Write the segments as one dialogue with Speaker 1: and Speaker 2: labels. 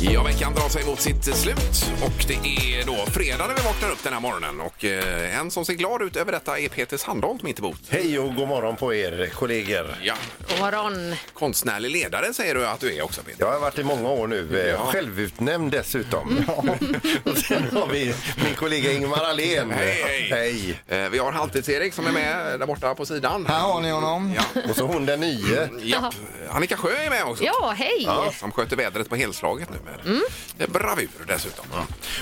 Speaker 1: Ja, veckan drar sig mot sitt slut och det är då fredag när vi vaknar upp den här morgonen. Och eh, en som ser glad ut över detta är Peter Sandholt mitt emot.
Speaker 2: Hej och god morgon på er kollegor.
Speaker 1: Ja,
Speaker 3: God morgon.
Speaker 1: konstnärlig ledare säger du att du är också Peter.
Speaker 2: Jag har varit i många år nu, eh, självutnämnd dessutom.
Speaker 1: Mm.
Speaker 2: och sen har vi min kollega Ingmar Ahlén.
Speaker 1: Hej, hej.
Speaker 2: Hej.
Speaker 1: Eh, vi har Halvtids-Erik som är med där borta på sidan.
Speaker 4: Här har ni honom.
Speaker 1: Ja,
Speaker 2: Och så hon den nye.
Speaker 1: japp. Annika Sjö är med också.
Speaker 3: Ja, hej!
Speaker 1: Ja, Som sköter vädret på helslaget nu med eh, bravur dessutom.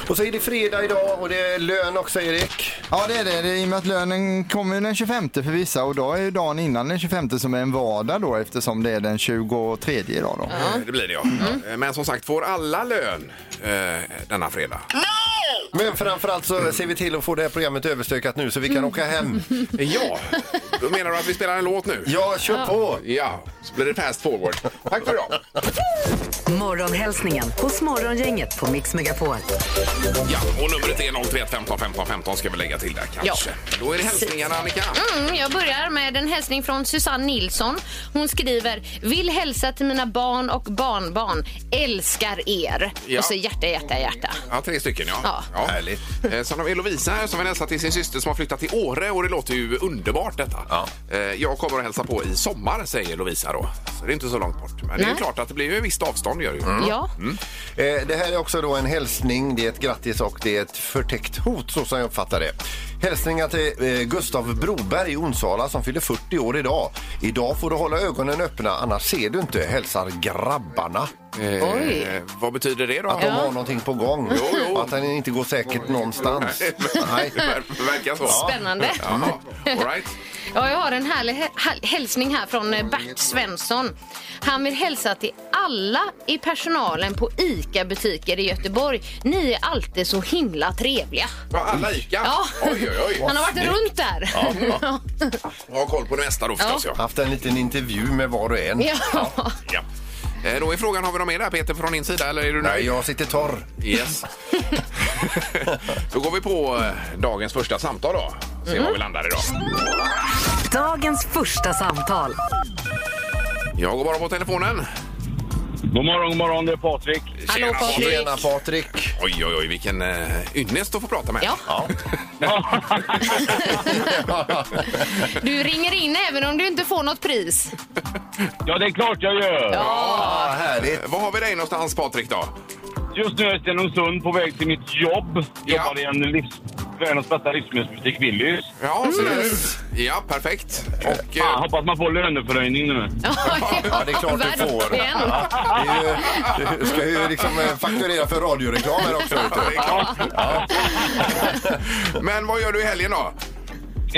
Speaker 2: Och så är det fredag idag och det är lön också Erik.
Speaker 4: Ja, det är det. det är I och med att lönen kommer ju den 25 för vissa och då är ju dagen innan den 25 som är en vardag då eftersom det är den 23 idag då.
Speaker 1: Eh, Det blir det ja. Eh, Men som sagt, får alla lön eh, denna fredag?
Speaker 2: Men framförallt så ser vi till att få det här programmet överstökat nu så vi
Speaker 1: Mm.
Speaker 2: kan åka hem.
Speaker 1: Ja, då menar du att vi spelar en låt nu?
Speaker 2: Ja, kör på!
Speaker 1: Ja, så blir det fast forward. Tack för idag.
Speaker 3: Morgonhälsningen hos Morgongänget på Mix Megapol.
Speaker 1: Ja, och numret är 031 15 15 15 ska vi lägga till där kanske. Då är det hälsningarna Annika.
Speaker 5: Mm, jag börjar med en hälsning från Susanne Nilsson. Hon skriver Vill hälsa till mina barn och barnbarn. Älskar er.
Speaker 1: Ja.
Speaker 5: Och så hjärta, hjärta, hjärta.
Speaker 1: Ja, tre stycken ja.
Speaker 5: Ja.
Speaker 1: Härligt. Eh, Sen har vi Lovisa här som vill hälsa till sin syster som har flyttat till Åre och det låter ju underbart detta. Eh, Jag kommer att hälsa på i sommar säger Lovisa då. Så det är inte så långt bort. Men det är ju
Speaker 5: Nej.
Speaker 1: klart att det blir ju ett visst avstånd gör det ju.
Speaker 5: Ja.
Speaker 1: Mm.
Speaker 2: Eh, Det här är också då en hälsning, det är ett grattis och det är ett förtäckt hot så som jag uppfattar det. Hälsningar till eh, Gustav Broberg i Onsala som fyller 40 år idag. Idag får du hålla ögonen öppna annars ser du inte, hälsar grabbarna.
Speaker 1: Eh,
Speaker 5: Oj.
Speaker 1: Vad betyder det då?
Speaker 2: Att de har någonting på gång.
Speaker 1: Jo, jo.
Speaker 2: Att han inte går säkert någonstans. Nej.
Speaker 1: Det ver- verkar så.
Speaker 5: Spännande.
Speaker 1: Ja. All right.
Speaker 5: Ja, jag har en härlig hä- hälsning här från eh, Bert Svensson. Han vill hälsa till alla i personalen på ICA-butiker i Göteborg. Ni är alltid så himla trevliga.
Speaker 1: Ja, Alla ICA?
Speaker 5: Ja.
Speaker 1: Oj, oj, oj.
Speaker 5: Han har varit runt där. Ja.
Speaker 1: Ha koll på det mesta då förstås. Ja.
Speaker 2: Haft en liten intervju med var och en.
Speaker 1: Ja. Eh, Då är frågan, har vi något mer där Peter från din sida eller är du nöjd?
Speaker 2: Nej, jag sitter torr.
Speaker 1: Yes. Då går vi på eh, dagens första samtal då. Se var vi landar idag.
Speaker 3: Dagens första samtal.
Speaker 1: Jag går bara på telefonen.
Speaker 6: God morgon, god morgon. Det är Patrik.
Speaker 5: Hallå,
Speaker 1: Tjena,
Speaker 5: Patrik.
Speaker 1: Patrik.
Speaker 2: Tjena Patrik.
Speaker 1: Oj, oj, oj, vilken eh, ynnest att få prata med.
Speaker 5: Ja. Du ringer in även om du inte får något pris.
Speaker 6: Ja, det är klart jag gör.
Speaker 2: Ah, härligt.
Speaker 1: Var har vi dig någonstans Patrik då?
Speaker 6: Just nu är jag i Stenungsund på väg till mitt jobb.
Speaker 1: Ja.
Speaker 6: Jobbar i en livs... världens bästa livsmedelsbutik, Willys.
Speaker 1: Ja, så där. ja perfekt. Och,
Speaker 6: Fan,
Speaker 1: eh,
Speaker 6: hoppas man får löneförhöjning nu.
Speaker 2: Ja, det är klart du får.
Speaker 5: verkligen.
Speaker 2: Ja, det är ju, du ska ju liksom eh, fakturera för radioreklam här också. vet
Speaker 1: det är
Speaker 2: du.
Speaker 1: klart. Men vad gör du i helgen då?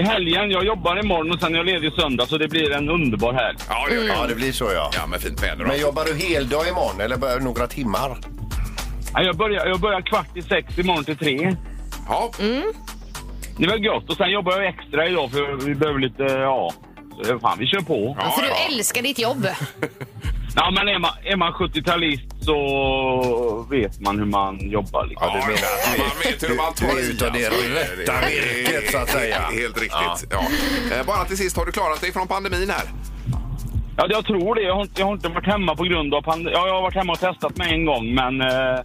Speaker 6: I helgen, jag jobbar imorgon och sen är jag ledig söndag så det blir en underbar helg.
Speaker 1: Ja, det gör
Speaker 2: Ja,
Speaker 1: jag.
Speaker 2: det blir så ja.
Speaker 1: Ja, med fint väder. då.
Speaker 2: Men jobbar du heldag imorgon eller bara några timmar?
Speaker 6: Ja, Jag börjar, jag börjar kvart i sex imorgon till tre.
Speaker 1: Ja,
Speaker 6: Det var gött och sen jobbar jag extra idag för vi behöver lite, ja... så eh, Fan, vi kör på.
Speaker 5: För du
Speaker 1: ja.
Speaker 5: älskar ditt jobb.
Speaker 6: Ja, men är man, är man 70-talist så vet man hur man jobbar. Liksom.
Speaker 1: Ja, du menar att man vet hur man tar
Speaker 2: Du är ute och det är
Speaker 1: alltså.
Speaker 2: det rätta
Speaker 1: Det är-
Speaker 2: virket, så att säga.
Speaker 1: Helt riktigt. Ja. Eh, Bara till sist, har du klarat dig från pandemin här?
Speaker 6: Ja, jag tror det. Jag har, inte- jag har inte varit hemma på grund av pandemin. Ja, jag har varit hemma och testat mig en gång, men eh,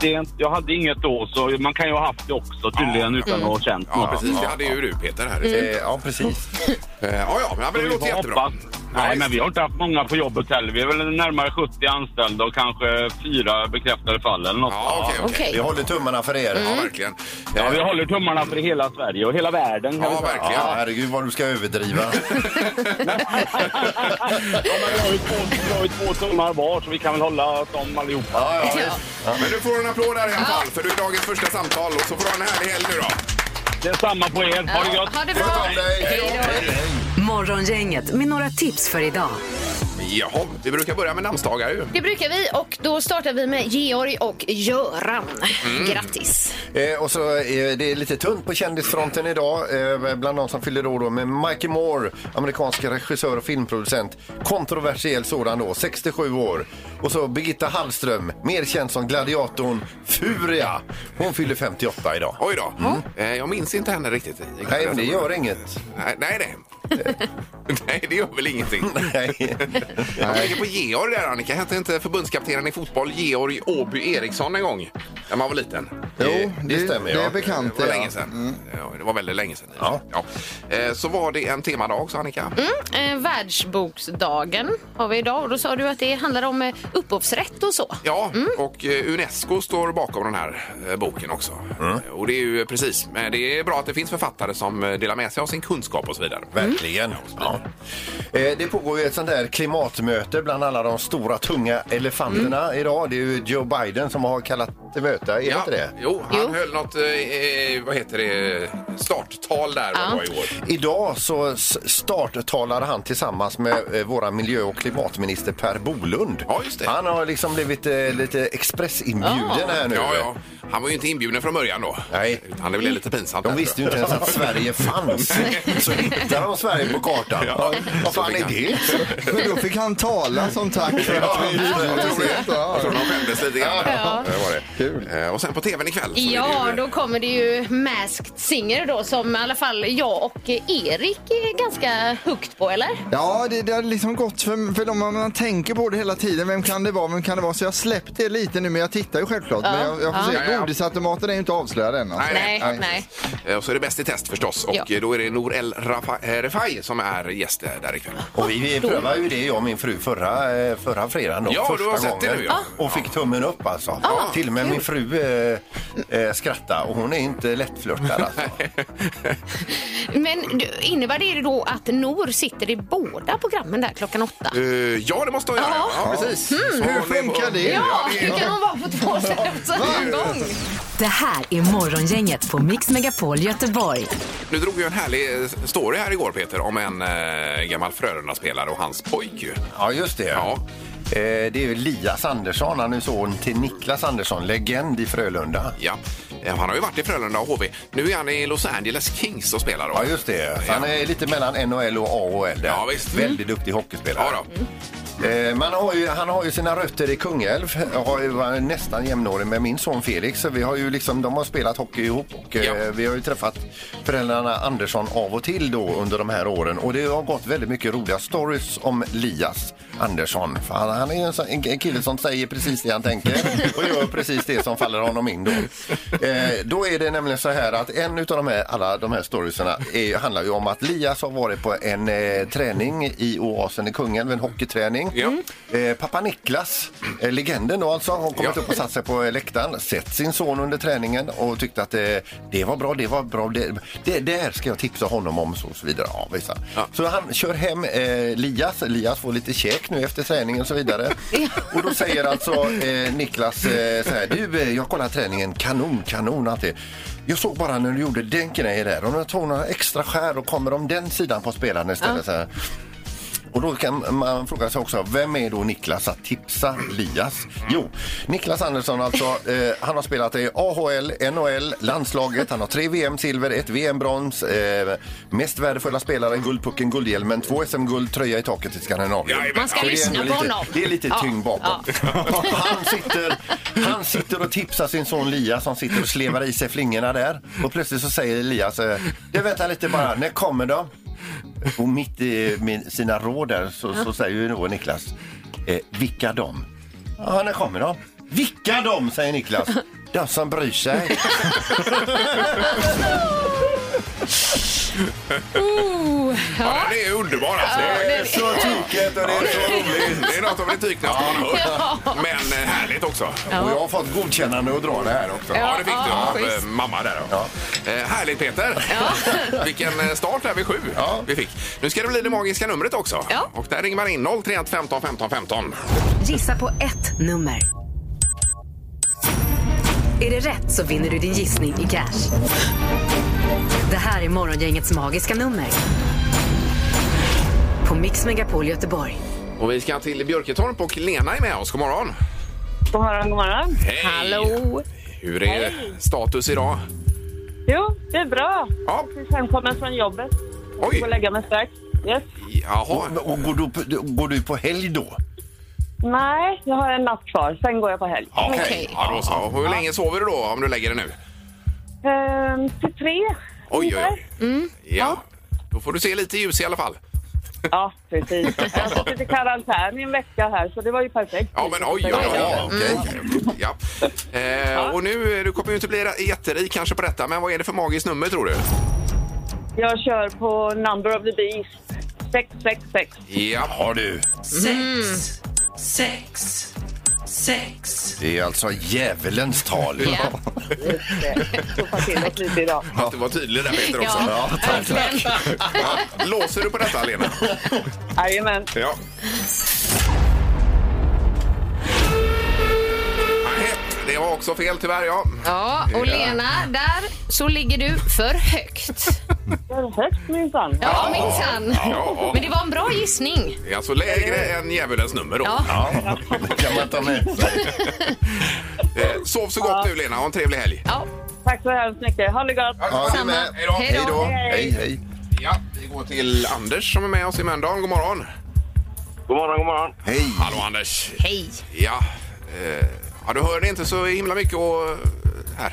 Speaker 6: det är, inte- jag hade inget då, så man kan ju ha haft det också tydligen utan att ha känt
Speaker 1: Ja,
Speaker 6: något.
Speaker 1: precis. Det hade ju du Peter här.
Speaker 2: Eh, Ja, precis.
Speaker 1: Eh, Ja, ja, men det
Speaker 6: Vi
Speaker 1: låter
Speaker 6: får
Speaker 1: jättebra.
Speaker 6: hoppas. Nej, men vi har inte haft många på jobbet heller. Vi är väl närmare 70 anställda och kanske fyra bekräftade fall eller något.
Speaker 1: Ja, okej, okej.
Speaker 5: Okej.
Speaker 2: Vi håller tummarna för er.
Speaker 1: Ja, verkligen.
Speaker 6: Ja, vi
Speaker 1: Eh,
Speaker 6: håller tummarna för hela Sverige och hela världen. kan
Speaker 1: Ja,
Speaker 6: vi säga.
Speaker 1: verkligen.
Speaker 2: Ja, herregud vad du ska överdriva.
Speaker 6: Ja, men vi har ju två, vi har ju två tummar var, så vi kan väl hålla dem allihopa.
Speaker 2: Ja, ja, visst.
Speaker 1: Men du får en applåd där i alla fall, för du är dagens första samtal. Och så får du ha en härlig helg nu då.
Speaker 6: Det är samma på er. Ha det gött!
Speaker 5: Ha det
Speaker 2: Sköt
Speaker 5: bra.
Speaker 2: om dig.
Speaker 5: Hej då.
Speaker 3: Morgongänget med några tips för idag.
Speaker 1: Jaha, vi brukar börja med namnsdagar ju.
Speaker 5: Det brukar vi och då startar vi med Georg och Göran. Grattis!
Speaker 2: Eh, och så eh, det är lite tunt på kändisfronten idag. Eh, bland de som fyller år då med Mikey Moore, amerikansk regissör och filmproducent. Kontroversiell sådan då, 67 år. Och så Birgitta Hallström, mer känd som gladiatorn Furia. Hon fyller 58 idag.
Speaker 1: Oj då. Eh, Jag minns inte henne riktigt.
Speaker 2: Nej, men det gör inget.
Speaker 1: Nej, nej. Nej, nej det gör väl ingenting.
Speaker 2: Nej.
Speaker 1: Jag tänker på Georg där Annika. Hette inte förbundskaptenen i fotboll Georg Åby Eriksson en gång? När man var liten.
Speaker 4: Jo,
Speaker 2: det stämmer,
Speaker 4: Det
Speaker 2: ja.
Speaker 4: är bekant.
Speaker 1: Det var
Speaker 4: ja.
Speaker 1: länge sedan. Ja, det var väldigt länge sedan.
Speaker 2: Mm. Ja. Mm.
Speaker 1: Eh, Så var det en temadag också Annika.
Speaker 5: Eh, världsboksdagen har vi idag och då sa du att det handlar om eh, upphovsrätt och så.
Speaker 1: Ja,
Speaker 2: Mm.
Speaker 1: och eh, Unesco står bakom den här eh, boken också.
Speaker 2: Mm.
Speaker 1: Eh, Och det är ju precis, men det är bra att det finns författare som eh, delar med sig av sin kunskap och så vidare.
Speaker 2: Verkligen.
Speaker 1: Mm.
Speaker 2: Ja. Eh, Det pågår ju ett sånt här klimatmöte bland alla de stora tunga elefanterna
Speaker 1: Mm.
Speaker 2: idag. Det är ju Joe Biden som har kallat till möte, är det inte det?
Speaker 1: Jo, han
Speaker 5: Jo.
Speaker 1: höll något, eh, eh, vad heter det, starttal där
Speaker 5: Ja.
Speaker 1: var det i år.
Speaker 2: Idag så s- starttalar han tillsammans med eh, våra miljö och klimatminister Per Bolund.
Speaker 1: Ja, just det.
Speaker 2: Han har liksom blivit eh, lite expressinbjuden här nu.
Speaker 1: Ja, ja. Han var ju inte inbjuden från början då.
Speaker 2: Nej.
Speaker 1: Utan det blev lite pinsamt.
Speaker 2: De
Speaker 1: där,
Speaker 2: visste ju
Speaker 1: tror
Speaker 2: inte ens att Sverige fanns. Så hittade de Sverige på kartan.
Speaker 1: Ja.
Speaker 2: Vad fan är det?
Speaker 4: Men då fick han tala som tack för att vi bjöd hit.
Speaker 1: jag. Jag tror
Speaker 4: Ja.
Speaker 1: de skämdes lite grann.
Speaker 5: Ja.
Speaker 1: Det var det. Eh, Och sen på tvn ikväll. så är det
Speaker 5: Ja,
Speaker 1: ju-
Speaker 5: då kommer det ju Masked Singer då som i alla fall jag och eh, Erik är ganska högt på, eller?
Speaker 4: Ja, det, det har liksom gått för, för dem, man tänker på det hela tiden. Vem kan det vara? Vem kan det vara? Så jag har släppt det lite nu, men jag tittar ju självklart.
Speaker 5: Ja,
Speaker 4: Men jag, jag får
Speaker 1: ja. Ja,
Speaker 4: se.
Speaker 1: ja.
Speaker 4: Godisautomaten är ju inte avslöjad än. Alltså.
Speaker 1: Nej,
Speaker 5: Nej,
Speaker 1: nej.
Speaker 5: nej.
Speaker 1: Eh, Och så är det Bäst i test förstås. Och
Speaker 5: Ja.
Speaker 1: eh, då är det Nour El Rafa- eh, Refai som är gäst eh, där ikväll.
Speaker 2: Och vi, vi prövade ju det jag och min fru förra, eh, förra fredagen. Då,
Speaker 1: Ja, du
Speaker 2: första
Speaker 1: har sett det
Speaker 2: gången.
Speaker 1: nu, ja.
Speaker 2: Och fick tummen upp alltså. Till och med min fru eh, eh, skrattade och hon är inte lättflörtad alltså.
Speaker 5: Men du, innebär det då att Nor sitter i båda programmen där klockan åtta?
Speaker 1: Eh, ja, det måste hon göra.
Speaker 5: Ja.
Speaker 1: Ja, precis. Så
Speaker 4: Hur
Speaker 1: hon är på-
Speaker 4: funkar det?
Speaker 5: Ja, det kan hon vara på två ställen på samma gång.
Speaker 3: Det här är Morgongänget på Mix Megapol Göteborg.
Speaker 1: Du drog ju en härlig eh, story här igår Peter om en eh, gammal Frölunda-spelare och hans pojk ju.
Speaker 2: Ja, just det.
Speaker 1: Ja.
Speaker 2: Eh, det är ju Lias Andersson, han är son till Niklas Andersson, legend i Frölunda.
Speaker 1: Ja. Eh, Han har ju varit i Frölunda och HV. Nu är han i Los Angeles Kings och spelar då.
Speaker 2: Ja, just det. Han är lite mellan NHL och AHL. där.
Speaker 1: Ja, visst.
Speaker 2: Väldigt duktig hockeyspelare.
Speaker 1: Ja,
Speaker 5: Mm.
Speaker 1: då.
Speaker 2: Eh, Man har ju, han har ju sina rötter i Kungälv. Jag har ju varit nästan jämnårig med min son Felix. Så vi har ju liksom, de har spelat hockey ihop och eh,
Speaker 1: Ja.
Speaker 2: vi har ju träffat föräldrarna Andersson av och till då under de här åren. Och det har gått väldigt mycket roliga stories om Lias Andersson. För han, han är ju en, sån- en kille som säger precis det han tänker och gör precis det som faller honom in då. Eh, då är det nämligen så här att en av de här, alla de här storiesarna är, handlar ju om att Lias har varit på en eh, träning i Oasen i Kungälv, en hockeyträning.
Speaker 1: Ja.
Speaker 2: Eh, pappa Niklas, eh, legenden då alltså, har kommit
Speaker 1: Ja.
Speaker 2: upp och satt sig på eh, läktaren, sett sin son under träningen och tyckte att eh, det var bra, det var bra, det, det där ska jag tipsa honom om så, och så vidare. Ja, visst.
Speaker 1: Ja.
Speaker 2: Så han kör hem eh, Lias, Lias får lite käk nu efter träningen och så vidare. och då säger alltså eh, Niklas eh, så här, du eh, jag kollar träningen, kanon, kanon allt det. Jag såg bara när du gjorde den grejen där, om jag tar några extra skär och kommer om den sidan på spelaren istället. Så här. Och då kan man fråga sig också, vem är då Niklas att tipsa Lias? Jo, Niklas Andersson alltså, eh, han har spelat i AHL, NHL, landslaget, han har tre VM-silver, ett VM-brons, eh, mest värdefulla spelare, Guldpucken, Guldhjälmen, två SM-guld, tröja i taket i Skandinavien.
Speaker 1: Jajamän.
Speaker 5: Man ska
Speaker 2: Så det är
Speaker 5: lyssna
Speaker 2: ändå
Speaker 5: på
Speaker 2: lite,
Speaker 5: honom.
Speaker 2: Det är lite
Speaker 5: Ja,
Speaker 2: tyngd bakom. Han, sitter, han sitter och tipsar sin son Lias som sitter och slevar i sig flingorna där. Och plötsligt så säger Lias, eh, du vänta lite bara, när kommer de? Och mitt i min, sina råd där så, så säger ju då Niklas, eh, vilka de? Ja, när kommer de? Vilka de, säger Niklas. De som bryr sig.
Speaker 5: Oh,
Speaker 1: Ja,
Speaker 5: ja.
Speaker 1: den är ju underbar alltså.
Speaker 2: Det är så tyket och det är så roligt.
Speaker 1: Det är något av det tyknaste man har hört. Men eh, härligt också.
Speaker 2: Och jag har fått godkännande att dra det här också.
Speaker 1: Ja, det fick du
Speaker 5: ja,
Speaker 1: av eh,
Speaker 5: schysst.
Speaker 1: mamma där. då. Eh, härligt Peter! Vilken eh, start där vid sju vi fick. Nu ska det bli det magiska numret också.
Speaker 5: Ja.
Speaker 1: Och där ringer man in 031 15 15 15.
Speaker 3: Gissa på ett nummer. Är det rätt så vinner du din gissning i cash. Det här är Morgongängets magiska nummer. På Mix Megapol Göteborg.
Speaker 1: Och vi ska till Björketorp och Lena är med oss. God morgon!
Speaker 7: God morgon, god morgon.
Speaker 1: Hej!
Speaker 5: Hallå!
Speaker 1: Hur är
Speaker 7: Hej.
Speaker 1: status idag?
Speaker 7: Jo, det är bra.
Speaker 1: Ja,
Speaker 7: Precis hemkommen från jobbet.
Speaker 1: oj!
Speaker 7: Får lägga mig strax. Yes.
Speaker 1: Jaha,
Speaker 2: Och, och går, du, på- går du på helg då?
Speaker 7: Nej, jag har en natt kvar. Sen går jag på helg.
Speaker 1: okej.
Speaker 5: Okej.
Speaker 1: Ja, då så. Och Hur länge sover du då om du lägger dig nu?
Speaker 7: Ehm, till tre.
Speaker 1: Oj, oj,
Speaker 7: ungefär.
Speaker 1: oj. Ja. Då får du se lite ljus i alla fall.
Speaker 7: Ja, precis. Jag har suttit i karantän i en vecka här, så det var ju perfekt.
Speaker 1: Ja, men oj, oj,
Speaker 5: Mm.
Speaker 1: oj. Okej. Ja. Eh, och nu, eh, du kommer ju inte bli jätterik kanske på detta, men vad är det för magiskt nummer tror du?
Speaker 7: Jag kör på Number of the Beast. 666.
Speaker 1: Ja,
Speaker 2: Har du.
Speaker 8: Sex, sex, sex.
Speaker 2: Det är alltså djävulens tal.
Speaker 5: Ja,
Speaker 7: Just det. Tuffa till oss lite idag.
Speaker 1: att du var tydlig där Peter också.
Speaker 5: ja. verkligen.
Speaker 1: Ja. Låser du på detta Lena?
Speaker 7: Jajamän.
Speaker 1: Ja. Nej, Det var också fel tyvärr, ja.
Speaker 5: Ja, och Lena, där så ligger du för högt.
Speaker 7: Det är högt minsann.
Speaker 5: Ja, minsann.
Speaker 1: Ja.
Speaker 5: Men det var en bra gissning.
Speaker 1: Det är alltså lägre än djävulens nummer då.
Speaker 5: Ja.
Speaker 2: Ja, det kan man ta med sig.
Speaker 1: Eh, Sov så gott nu Lena och en trevlig helg.
Speaker 5: Ja,
Speaker 7: Tack så hemskt mycket. Ha det gott.
Speaker 2: Ja, du
Speaker 5: Samma.
Speaker 2: med.
Speaker 1: Hej då.
Speaker 5: Hej då.
Speaker 2: Hej då. Hej, hej.
Speaker 1: Ja, vi går till Anders som är med oss i Mölndal. God morgon.
Speaker 6: God morgon, god morgon.
Speaker 2: Hej.
Speaker 1: Hallå Anders.
Speaker 5: hej.
Speaker 1: Ja, eh, ja du hörde inte så himla mycket och eh, här.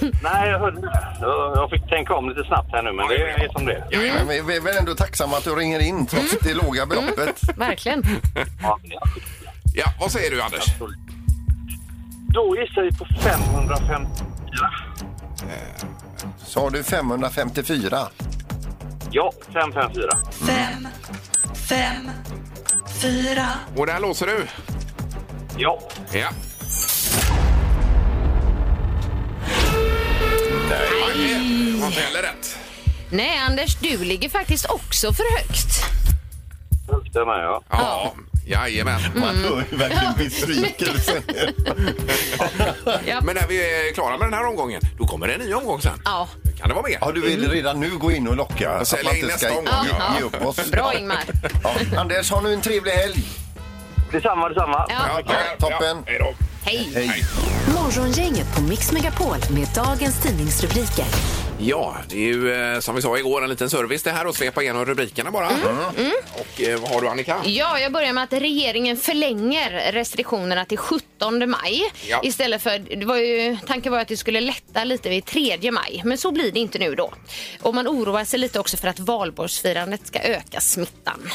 Speaker 6: Nej, jag, hörde, jag, jag fick tänka om lite snabbt här nu, men det är som det är.
Speaker 2: Men vi- vi är väl ändå tacksamma att du ringer in trots det låga beloppet.
Speaker 5: Verkligen.
Speaker 6: Ja, ja.
Speaker 1: Ja, vad säger du Anders?
Speaker 6: Då gissar vi på 550.
Speaker 2: Så har du 554.
Speaker 6: Ja, 554.
Speaker 8: Fem, fem, fyra.
Speaker 1: Och där låser du?
Speaker 6: Ja.
Speaker 1: Ja. Nej, det var inte heller rätt.
Speaker 5: Nej, Anders, du ligger faktiskt också för högt.
Speaker 6: Det är med, ja.
Speaker 1: Ja, jajamän.
Speaker 2: Man hör ju verkligen besvikelsen.
Speaker 1: Men när vi är klara med den här omgången, då kommer det en ny omgång sen.
Speaker 5: Ja.
Speaker 1: Kan det vara mer?
Speaker 2: Ja, du vill redan nu gå in och locka. så
Speaker 1: säljer
Speaker 2: att man
Speaker 1: in
Speaker 2: inte
Speaker 1: nästa
Speaker 2: ska
Speaker 1: omgång,
Speaker 2: ge-
Speaker 5: ja.
Speaker 2: Ge upp oss.
Speaker 5: Bra, Ingmar.
Speaker 2: Ja. Anders, ha nu en trevlig helg.
Speaker 6: Detsamma, detsamma.
Speaker 5: Ja,
Speaker 2: Ja, toppen.
Speaker 1: hej då.
Speaker 5: hej.
Speaker 2: Hej.
Speaker 3: Morgongänget på Mix Megapol med dagens tidningsrubriker.
Speaker 1: Ja, det är ju eh, som vi sa igår en liten service det här och svepa igenom rubrikerna bara.
Speaker 2: Mm.
Speaker 1: Och eh, vad har du Annika?
Speaker 5: Ja, jag börjar med att regeringen förlänger restriktionerna till 17 maj.
Speaker 1: Ja.
Speaker 5: Istället för, det var ju, tanken var att det skulle lätta lite vid 3 maj, men så blir det inte nu då. Och man oroar sig lite också för att valborgsfirandet ska öka smittan.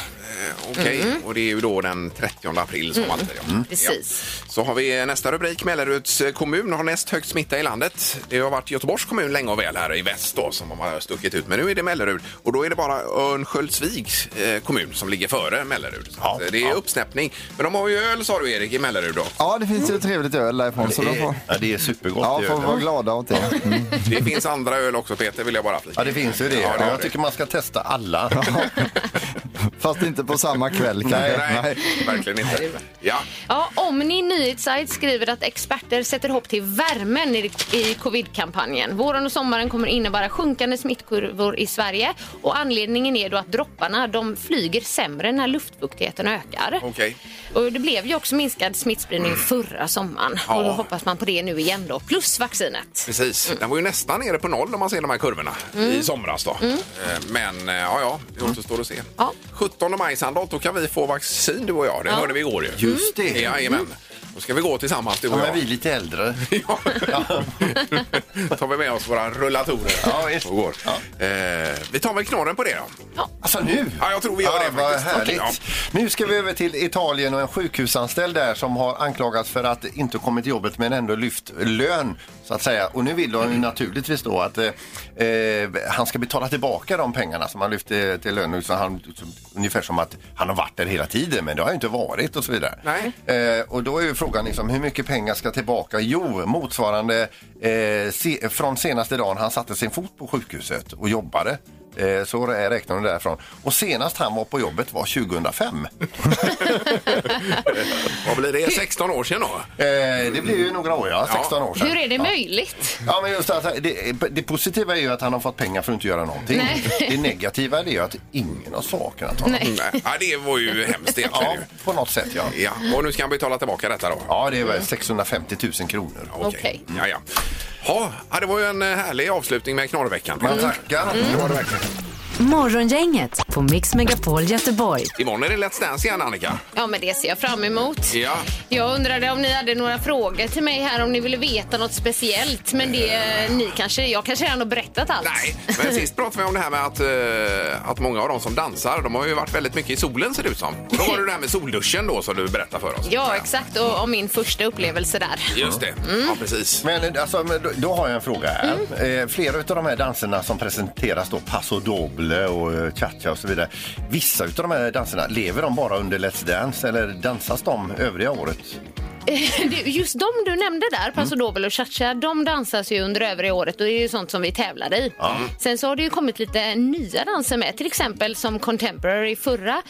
Speaker 1: Okej,
Speaker 2: Mm.
Speaker 1: och det är ju då den 30 april som alltid. Ja.
Speaker 5: Precis.
Speaker 1: Ja. Så har vi nästa rubrik. Melleruds eh, kommun har näst högst smitta i landet. Det har varit Göteborgs kommun länge och väl här i väst då som har stuckit ut. Men nu är det Mellerud och då är det bara Örnsköldsviks eh, kommun som ligger före Mellerud. Så att, eh, det är uppsnäppning. Men de har ju öl sa du Erik i Mellerud då.
Speaker 4: Ja, det finns ju trevligt öl därifrån så de får,
Speaker 2: Ja, det är supergott.
Speaker 4: ja,
Speaker 2: det gör
Speaker 4: får
Speaker 2: det.
Speaker 4: vara glada åt det. Mm.
Speaker 1: Det finns andra öl också Peter vill jag bara flika.
Speaker 2: Ja, det finns ju det.
Speaker 1: Ja, det gör
Speaker 2: jag
Speaker 1: det.
Speaker 2: tycker man ska testa alla.
Speaker 4: Fast inte på samma kväll kanske.
Speaker 1: Nej, verkligen inte. Ja,
Speaker 5: Ja, Omni nyhetssajt skriver att experter sätter hopp till värmen i, i covid-kampanjen. Våren och sommaren kommer innebära sjunkande smittkurvor i Sverige och anledningen är då att dropparna de flyger sämre när luftfuktigheten ökar.
Speaker 1: okej.
Speaker 5: Och det blev ju också minskad smittspridning förra sommaren
Speaker 1: Ja.
Speaker 5: och då hoppas man på det nu igen då, plus vaccinet.
Speaker 1: Precis. Den var ju nästan nere på noll om man ser de här kurvorna
Speaker 2: Mm.
Speaker 1: i somras. Då. Eh, Men eh, ja, ja, det återstår att se.
Speaker 5: Ja.
Speaker 1: 17 maj, Sandholt, då kan vi få vaccin du och jag. Det hörde vi igår ju.
Speaker 2: Mm. Just det.
Speaker 1: Jajamän. Då ska vi gå tillsammans du
Speaker 2: Ja,
Speaker 1: och
Speaker 2: men vi är
Speaker 1: jag.
Speaker 2: lite äldre.
Speaker 1: Ja. tar vi med oss våra rullatorer
Speaker 2: Ja, visst.
Speaker 1: och går. Eh, vi tar väl knorren på det då.
Speaker 2: Alltså nu?
Speaker 1: Ja, jag tror vi gör det
Speaker 2: vad
Speaker 1: faktiskt.
Speaker 2: Härligt.
Speaker 1: Okej,
Speaker 2: Nu ska vi över till Italien och en sjukhusanställd där som har anklagats för att inte kommit till jobbet men ändå lyft lön så att säga. Och nu vill de ju naturligtvis då att eh, eh, han ska betala tillbaka de pengarna som han lyfte till lön. Så han, som, ungefär som att han har varit där hela tiden men det har ju inte varit och så vidare.
Speaker 1: Nej.
Speaker 2: Eh, och då är ju frågan liksom, hur mycket pengar ska tillbaka? Jo, motsvarande eh, se, från senaste dagen han satte sin fot på sjukhuset och jobbade. Eh, Så rä- räknar hon därifrån. Och senast han var på jobbet var 2005.
Speaker 1: Vad blir det? 16 år sedan då?
Speaker 2: Eh, Det blir ju några år, ja. 16 år sedan.
Speaker 5: Hur är det
Speaker 2: ja.
Speaker 5: möjligt?
Speaker 2: Ja, men just att det, det positiva är ju att han har fått pengar för att inte göra någonting.
Speaker 5: Nej.
Speaker 2: Det negativa är ju att ingen har saknat honom.
Speaker 5: Nej.
Speaker 1: Mm, Nej. Ja, det var ju hemskt egentligen.
Speaker 2: Ja,
Speaker 1: ju.
Speaker 2: på något sätt ja.
Speaker 1: Ja, och nu ska han betala tillbaka detta då?
Speaker 2: Ja, det är väl 650 000 kronor.
Speaker 5: Okej.
Speaker 1: Ja, ja. Ja, ja, det var ju en eh, härlig avslutning med knorrveckan.
Speaker 2: Man tackar.
Speaker 1: Mm.
Speaker 3: Morgongänget på Mix Megapol Göteborg.
Speaker 1: Imorgon är det Let's Dance igen, Annika.
Speaker 5: Ja, men det ser jag fram emot.
Speaker 1: Ja.
Speaker 5: Jag undrade om ni hade några frågor till mig här, om ni ville veta något speciellt. Men det, ni kanske, jag kanske redan har berättat allt.
Speaker 1: Nej, men sist pratade vi om det här med att, eh, att många av de som dansar, de har ju varit väldigt mycket i solen ser det ut som. Och då var det det här med solduschen då som du berättade för oss.
Speaker 5: Ja, exakt. Mm. Och, och min första upplevelse där.
Speaker 1: Just det. Ja, precis.
Speaker 2: Men, alltså, men då, då har jag en fråga här.
Speaker 5: Mm.
Speaker 2: Eh, flera av de här danserna som presenteras då, paso doble och eh, cha-cha och så vidare. Vissa av de här danserna, lever de bara under Let's Dance eller dansas de övriga året?
Speaker 5: Du, Just de du nämnde
Speaker 2: Mm.
Speaker 5: där, Paso Doble och Cha-Cha, de dansas ju under övriga året och det är ju sånt som vi tävlar i. Sen så har det ju kommit lite nya danser med, till exempel som Contemporary förra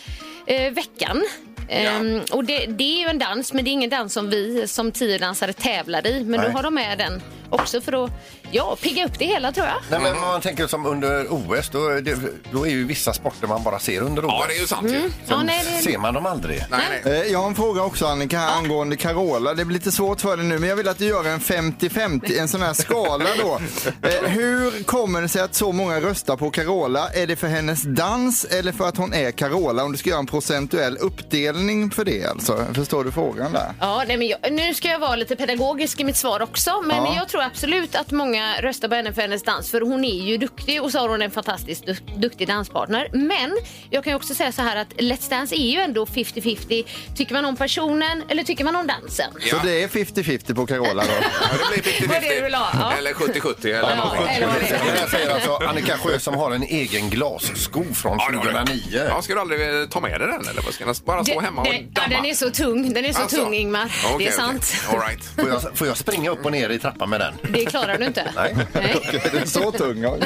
Speaker 5: eh, veckan. Ehm, och det, det är ju en dans, men det är ingen dans som vi som tiodansare tävlar i. Men
Speaker 2: Nej.
Speaker 5: nu har de med den också för att ja, pigga upp det hela tror jag.
Speaker 2: Nej,
Speaker 1: Mm.
Speaker 2: men om man tänker som under OS, då, är det, då är ju vissa sporter man bara ser under OS.
Speaker 1: Ja, det är ju sant ju.
Speaker 5: Ja, nej, det,
Speaker 2: Ser man dem aldrig?
Speaker 1: Nej, nej.
Speaker 4: Eh, Jag har en fråga också Annika här angående Carola. Det blir lite svårt för dig nu men jag vill att du gör en 50-50, en sån här skala då. Eh, Hur kommer det sig att så många röstar på Carola? Är det för hennes dans eller för att hon är Carola? Om du ska göra en procentuell uppdelning för det alltså. Förstår du frågan där?
Speaker 5: ja, nej, men jag, nu ska jag vara lite pedagogisk i mitt svar också. Men,
Speaker 4: Ja.
Speaker 5: men jag tror absolut att många röstar på henne för hennes dans. För hon är ju duktig och så har hon en fantastiskt duk- duktig danspartner. Men jag kan ju också säga så här att Let's Dance är ju ändå 50-50. Tycker man om personen eller tycker man om dansen?
Speaker 1: Ja.
Speaker 4: Så det är 50-50 på Carola då?
Speaker 1: Ja, det blir 50-50.
Speaker 5: Vad är det du vill ha? Ja.
Speaker 1: Eller 70-70 eller
Speaker 5: Ja, eh,
Speaker 1: någonting.
Speaker 5: eller vad det är.
Speaker 2: Jag säger alltså Annika Sjö som har en egen glassko från
Speaker 1: Ja, det har du.
Speaker 2: 2009.
Speaker 1: Ja, ska du aldrig eh, ta med dig den eller vad? ska den bara stå hemma och
Speaker 5: den, ja,
Speaker 1: damma?
Speaker 5: den är så tung. Den är så
Speaker 1: Alltså.
Speaker 5: tung Ingmar.
Speaker 1: Okej,
Speaker 5: det är
Speaker 1: okej.
Speaker 5: sant.
Speaker 1: All right.
Speaker 2: Får jag, får jag springa upp och ner i trappan med den?
Speaker 5: Det klarar du inte.
Speaker 2: Nej.
Speaker 5: Nej.
Speaker 4: Är den så tung? Ja.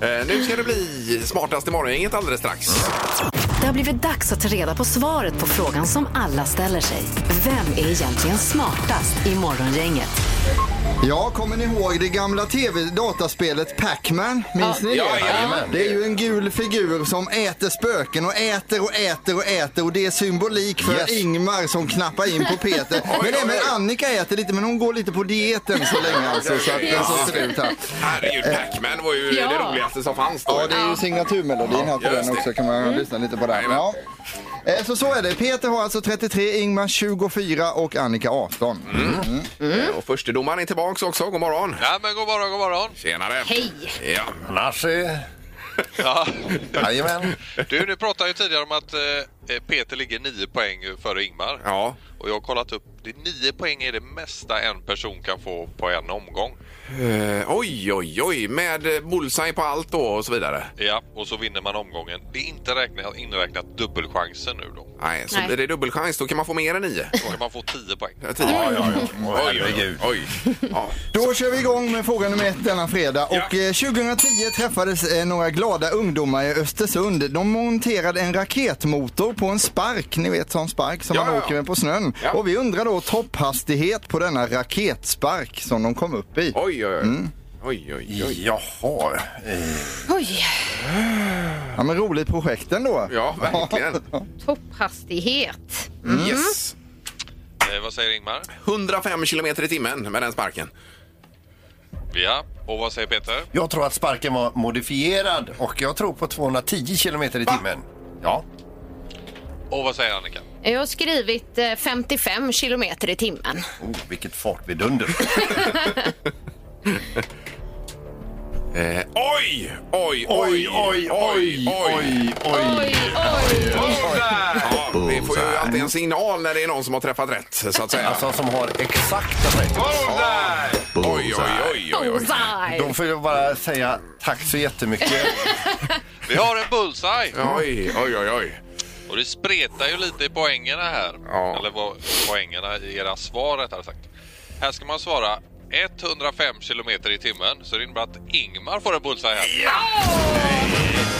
Speaker 1: Eh, nu ska det bli smartast i morgon, inget alldeles strax.
Speaker 3: Det har blivit dags att ta reda på svaret på frågan som alla ställer sig. Vem är egentligen smartast i morgongänget?
Speaker 4: Ja, kommer ni ihåg det gamla tv-dataspelet Pac-Man? Minns ni det?
Speaker 1: Ja, jajamän.
Speaker 4: Det är ju en gul figur som äter spöken och äter och äter och äter och det är symbolik för
Speaker 2: Yes.
Speaker 4: Ingmar som knappar in på Peter. men även Annika äter lite men hon går lite på dieten så länge alltså så att den så ser ut här.
Speaker 1: Herregud, Pac-Man var ju
Speaker 5: Ja.
Speaker 1: det roligaste som fanns då.
Speaker 4: Ja, det är ju signaturmelodin här på
Speaker 1: Ja, just
Speaker 4: den
Speaker 1: det.
Speaker 4: också. Kan man lyssna lite på den.
Speaker 1: Jajamän.
Speaker 4: Ja. Eh, Så så är det. Peter har alltså 33, Ingmar 24 och Annika 18.
Speaker 1: Eh, Och förstedomaren är tillbaks också. God morgon!
Speaker 9: Ja, men god morgon, god morgon.
Speaker 1: Tjenare!
Speaker 5: Hej!
Speaker 1: Ja,
Speaker 2: Annars... eh,
Speaker 9: Ja.
Speaker 2: Jajamän.
Speaker 9: Du, du pratade ju tidigare om att eh, Peter ligger nio poäng före Ingmar.
Speaker 1: ja.
Speaker 9: Och jag har kollat upp, det nio poäng är det mesta en person kan få på en omgång.
Speaker 1: Eh, oj, oj, oj, med eh, bullseye på allt då och så vidare.
Speaker 9: Ja, och så vinner man omgången. Det är inte räknat, inräknat dubbelchansen nu då.
Speaker 1: Nej, så
Speaker 5: Nej.
Speaker 1: blir det dubbelchans. Då kan man få mer än nio.
Speaker 9: Då kan man få tio poäng.
Speaker 1: Ja, tio.
Speaker 2: Åh,
Speaker 1: Oj, oj, oj. Ja.
Speaker 4: Då kör vi igång med fråga nummer ett denna fredag. Och eh, 2010 träffades eh, några glada ungdomar i Östersund. De monterade en raketmotor på en spark, ni vet sån spark som
Speaker 1: Ja,
Speaker 4: man
Speaker 1: ja,
Speaker 4: åker
Speaker 1: ja.
Speaker 4: med på snön.
Speaker 1: Ja.
Speaker 4: Och vi undrar då topphastighet på denna raketspark som de kom upp i.
Speaker 1: Oj, oj, oj. Oj, oj, oj.
Speaker 2: Jaha. eh,
Speaker 5: Oj,
Speaker 4: Ja men roligt projekt ändå.
Speaker 1: Ja, verkligen.
Speaker 5: topphastighet.
Speaker 1: Yes.
Speaker 9: Eh, vad säger Ingmar?
Speaker 1: 105 kilometer i timmen med den sparken.
Speaker 9: Ja, och vad säger Peter?
Speaker 2: Jag tror att sparken var modifierad och jag tror på 210 kilometer i timmen. Ja.
Speaker 9: Och vad säger Annika?
Speaker 5: Jag har skrivit eh, 55 kilometer i timmen.
Speaker 2: Oh, vilket fartvidunder.
Speaker 1: Eh, oj, oj,
Speaker 2: Oj, oj, oj, oj, oj.
Speaker 5: Oj, oj!
Speaker 1: Ja, vi får ju alltid en signal när det är någon som har träffat rätt, så att säga.
Speaker 2: Alltså som har exakt rätt.
Speaker 1: oj, oj, oj, oj,
Speaker 5: Oh,
Speaker 1: oj.
Speaker 5: Bullseye!
Speaker 2: Då får jag bara säga tack så jättemycket.
Speaker 9: Vi har en bullseye!
Speaker 1: Oj, oj, oj, oj.
Speaker 9: Och det spretar ju lite i poängerna här.
Speaker 1: Ja.
Speaker 9: Eller vad, poängerna i era svar rättare sagt. Här ska man svara 105 kilometer i timmen. Så det innebär att Ingmar får en bullseye här.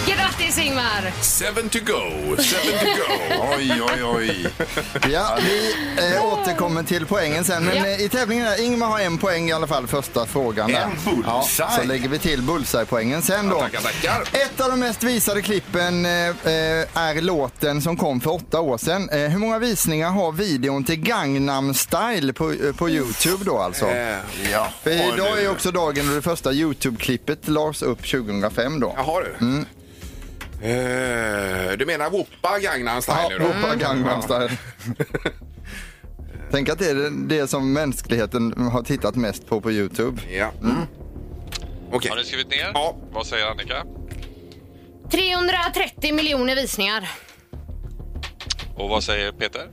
Speaker 5: Grattis Ingmar!
Speaker 1: Seven to go, seven to go.
Speaker 2: Oj, oj, oj.
Speaker 4: Ja, vi eh, återkommer till poängen sen. Men
Speaker 5: Ja.
Speaker 4: eh, i tävlingen där, Ingmar har en poäng i alla fall, första frågan. Där.
Speaker 2: En bullseye.
Speaker 4: Ja, så lägger vi till bullseye-poängen sen då.
Speaker 1: tackar, tackar.
Speaker 4: Ett av de mest visade klippen eh, eh, är låten som kom för åtta år sedan. Eh, hur många visningar har videon till Gangnam style på, eh, på Youtube då alltså?
Speaker 1: Eh,
Speaker 2: Ja.
Speaker 4: För idag
Speaker 2: nu.
Speaker 4: är också dagen då det första Youtube-klippet lades upp 2005 då.
Speaker 1: Jaha du.
Speaker 2: Mm.
Speaker 1: Eh, du menar Whoopa Gangnam Style
Speaker 4: Ja,
Speaker 1: nu då? Mm.
Speaker 4: ropa Gangnam style. Tänk att det är det- det som mänskligheten har tittat mest på på Youtube.
Speaker 1: Ja.
Speaker 2: Mm.
Speaker 1: Okej.
Speaker 9: Har ni skrivit ner?
Speaker 1: Ja.
Speaker 9: Vad säger Annika?
Speaker 5: 330 miljoner visningar.
Speaker 9: Och vad säger Peter?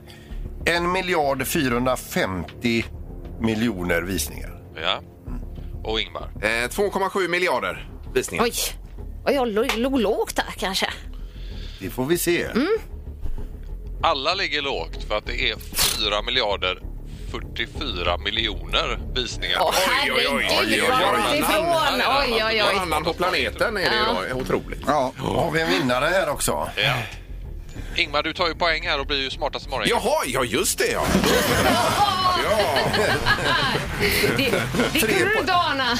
Speaker 2: En miljard 450 miljoner visningar.
Speaker 9: Ja. Och Ingmar?
Speaker 1: Eh, 2,7 miljarder visningar.
Speaker 5: Oj, Oj, jag låg låg lågt där kanske.
Speaker 2: Det får vi se.
Speaker 9: Alla ligger lågt för att det är 4 miljarder 44 miljoner visningar.
Speaker 5: Åh
Speaker 1: oj, oj, oj,
Speaker 5: herregud,
Speaker 1: oj, oj,
Speaker 5: vad
Speaker 1: oj.
Speaker 5: långt ifrån! Oj, oj,
Speaker 1: Någon
Speaker 5: oj.
Speaker 1: annan på planeten är det ju
Speaker 5: Ja.
Speaker 1: då. Otroligt.
Speaker 4: Ja.
Speaker 2: Har vi en vinnare här också?
Speaker 9: Ja. Ingmar, du tar ju poäng här och blir ju smartast imorgon.
Speaker 1: Jaha, ja just det ja. ja.
Speaker 5: Det, det
Speaker 2: Tre
Speaker 5: kunde du
Speaker 2: på-
Speaker 5: inte ana.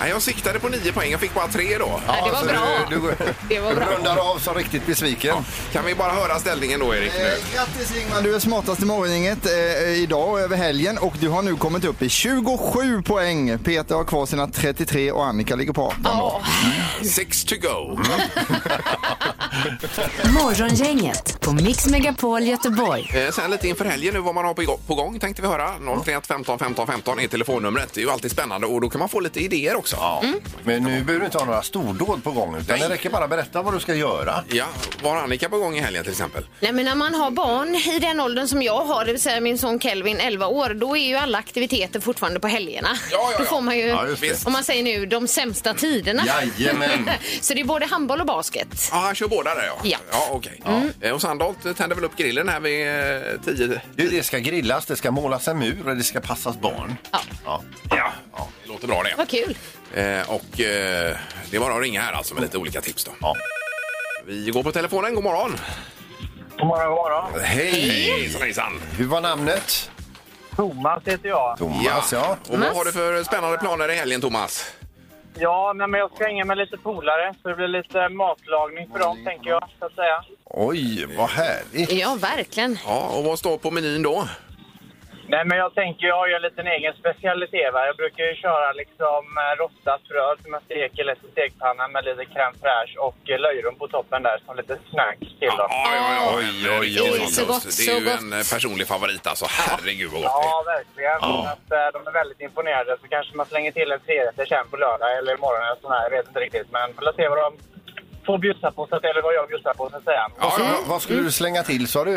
Speaker 1: Nej, jag siktade på nio poäng, jag fick bara tre då.
Speaker 5: Ja, det var
Speaker 2: så
Speaker 5: bra.
Speaker 2: alltså, Du, du
Speaker 5: Det var bra.
Speaker 2: rundar av som riktigt besviken.
Speaker 1: Kan vi bara höra ställningen då Erik nu?
Speaker 4: Eh, Grattis Ingmar, du är smartast i morgongänget eh, idag och över helgen och du har nu kommit upp i 27 poäng. Peter har kvar sina 33 och Annika ligger på 18. då.
Speaker 1: Six to go.
Speaker 3: Morgongänget på Mix Megapol Göteborg.
Speaker 1: Eh, Sen lite inför helgen nu vad man har på igå- på gång tänkte vi höra. 031 15 15 15 är telefonnumret. Det är ju alltid spännande och då kan man få lite idéer också.
Speaker 2: Men nu behöver du inte ha några stordåd på gång. Utan
Speaker 1: Nej.
Speaker 2: det räcker bara att berätta vad du ska göra.
Speaker 1: Ja, var Annika på gång i helgen till exempel?
Speaker 5: Nej, men när man har barn i den åldern som jag har, det vill säga min son Kelvin 11 år, då är ju alla aktiviteter fortfarande på helgerna.
Speaker 1: Ja, ja, ja.
Speaker 5: Då får man ju,
Speaker 2: Ja, just det.
Speaker 5: om man säger nu, de sämsta tiderna.
Speaker 2: Jajamän.
Speaker 5: Så det är både handboll och basket.
Speaker 1: Ja, han kör båda där ja.
Speaker 5: Ja.
Speaker 1: ja okej. Eh, Och Sandholt tänder väl upp grillen här vid eh, tio.
Speaker 2: Du, det ska grillas, det ska målas en mur och det ska passas barn.
Speaker 5: Ja.
Speaker 2: Ja.
Speaker 1: Ja. det låter bra det.
Speaker 5: Vad kul!
Speaker 1: Eh, Och eh, det är bara att ringa här alltså med lite olika tips då.
Speaker 2: Ja.
Speaker 1: Vi går på telefonen, god morgon.
Speaker 10: God morgon, god morgon.
Speaker 2: Hej!
Speaker 1: Hejsan hejsan.
Speaker 2: Hur var namnet?
Speaker 10: Thomas heter jag.
Speaker 2: Thomas, ja.
Speaker 1: Och vad har du för spännande planer i helgen Thomas?
Speaker 10: Ja, nej, men jag ska hänga med lite polare, så det blir lite matlagning för dem, tänker jag. Så att säga.
Speaker 2: Oj, vad härligt.
Speaker 5: Ja, verkligen.
Speaker 1: Ja, och vad står på menyn då?
Speaker 10: Nej, men jag tänker jag har ju en liten egen specialitet. Va? Jag brukar ju köra liksom eh, rostat bröd som jag steker lätt i stekpannan med lite crème fraîche och eh, löjrom på toppen där som lite snack till dem.
Speaker 1: Ja, ja, ja. Oj, oj,
Speaker 5: Det är så gott,
Speaker 1: Det är
Speaker 5: så
Speaker 1: ju
Speaker 5: gott.
Speaker 1: en eh, personlig favorit alltså. Herregud vad gott det är.
Speaker 10: Ja, verkligen. Så Att, eh, de är väldigt imponerade. Så kanske man slänger till en trerätter sen på lördag eller imorgon eller sån här. Jag vet inte riktigt. Men vi får se vad de får bjussa på, så att, eller vad jag bjussar på, så att säga.
Speaker 2: Vad skulle- Vad skulle du slänga till, sa du?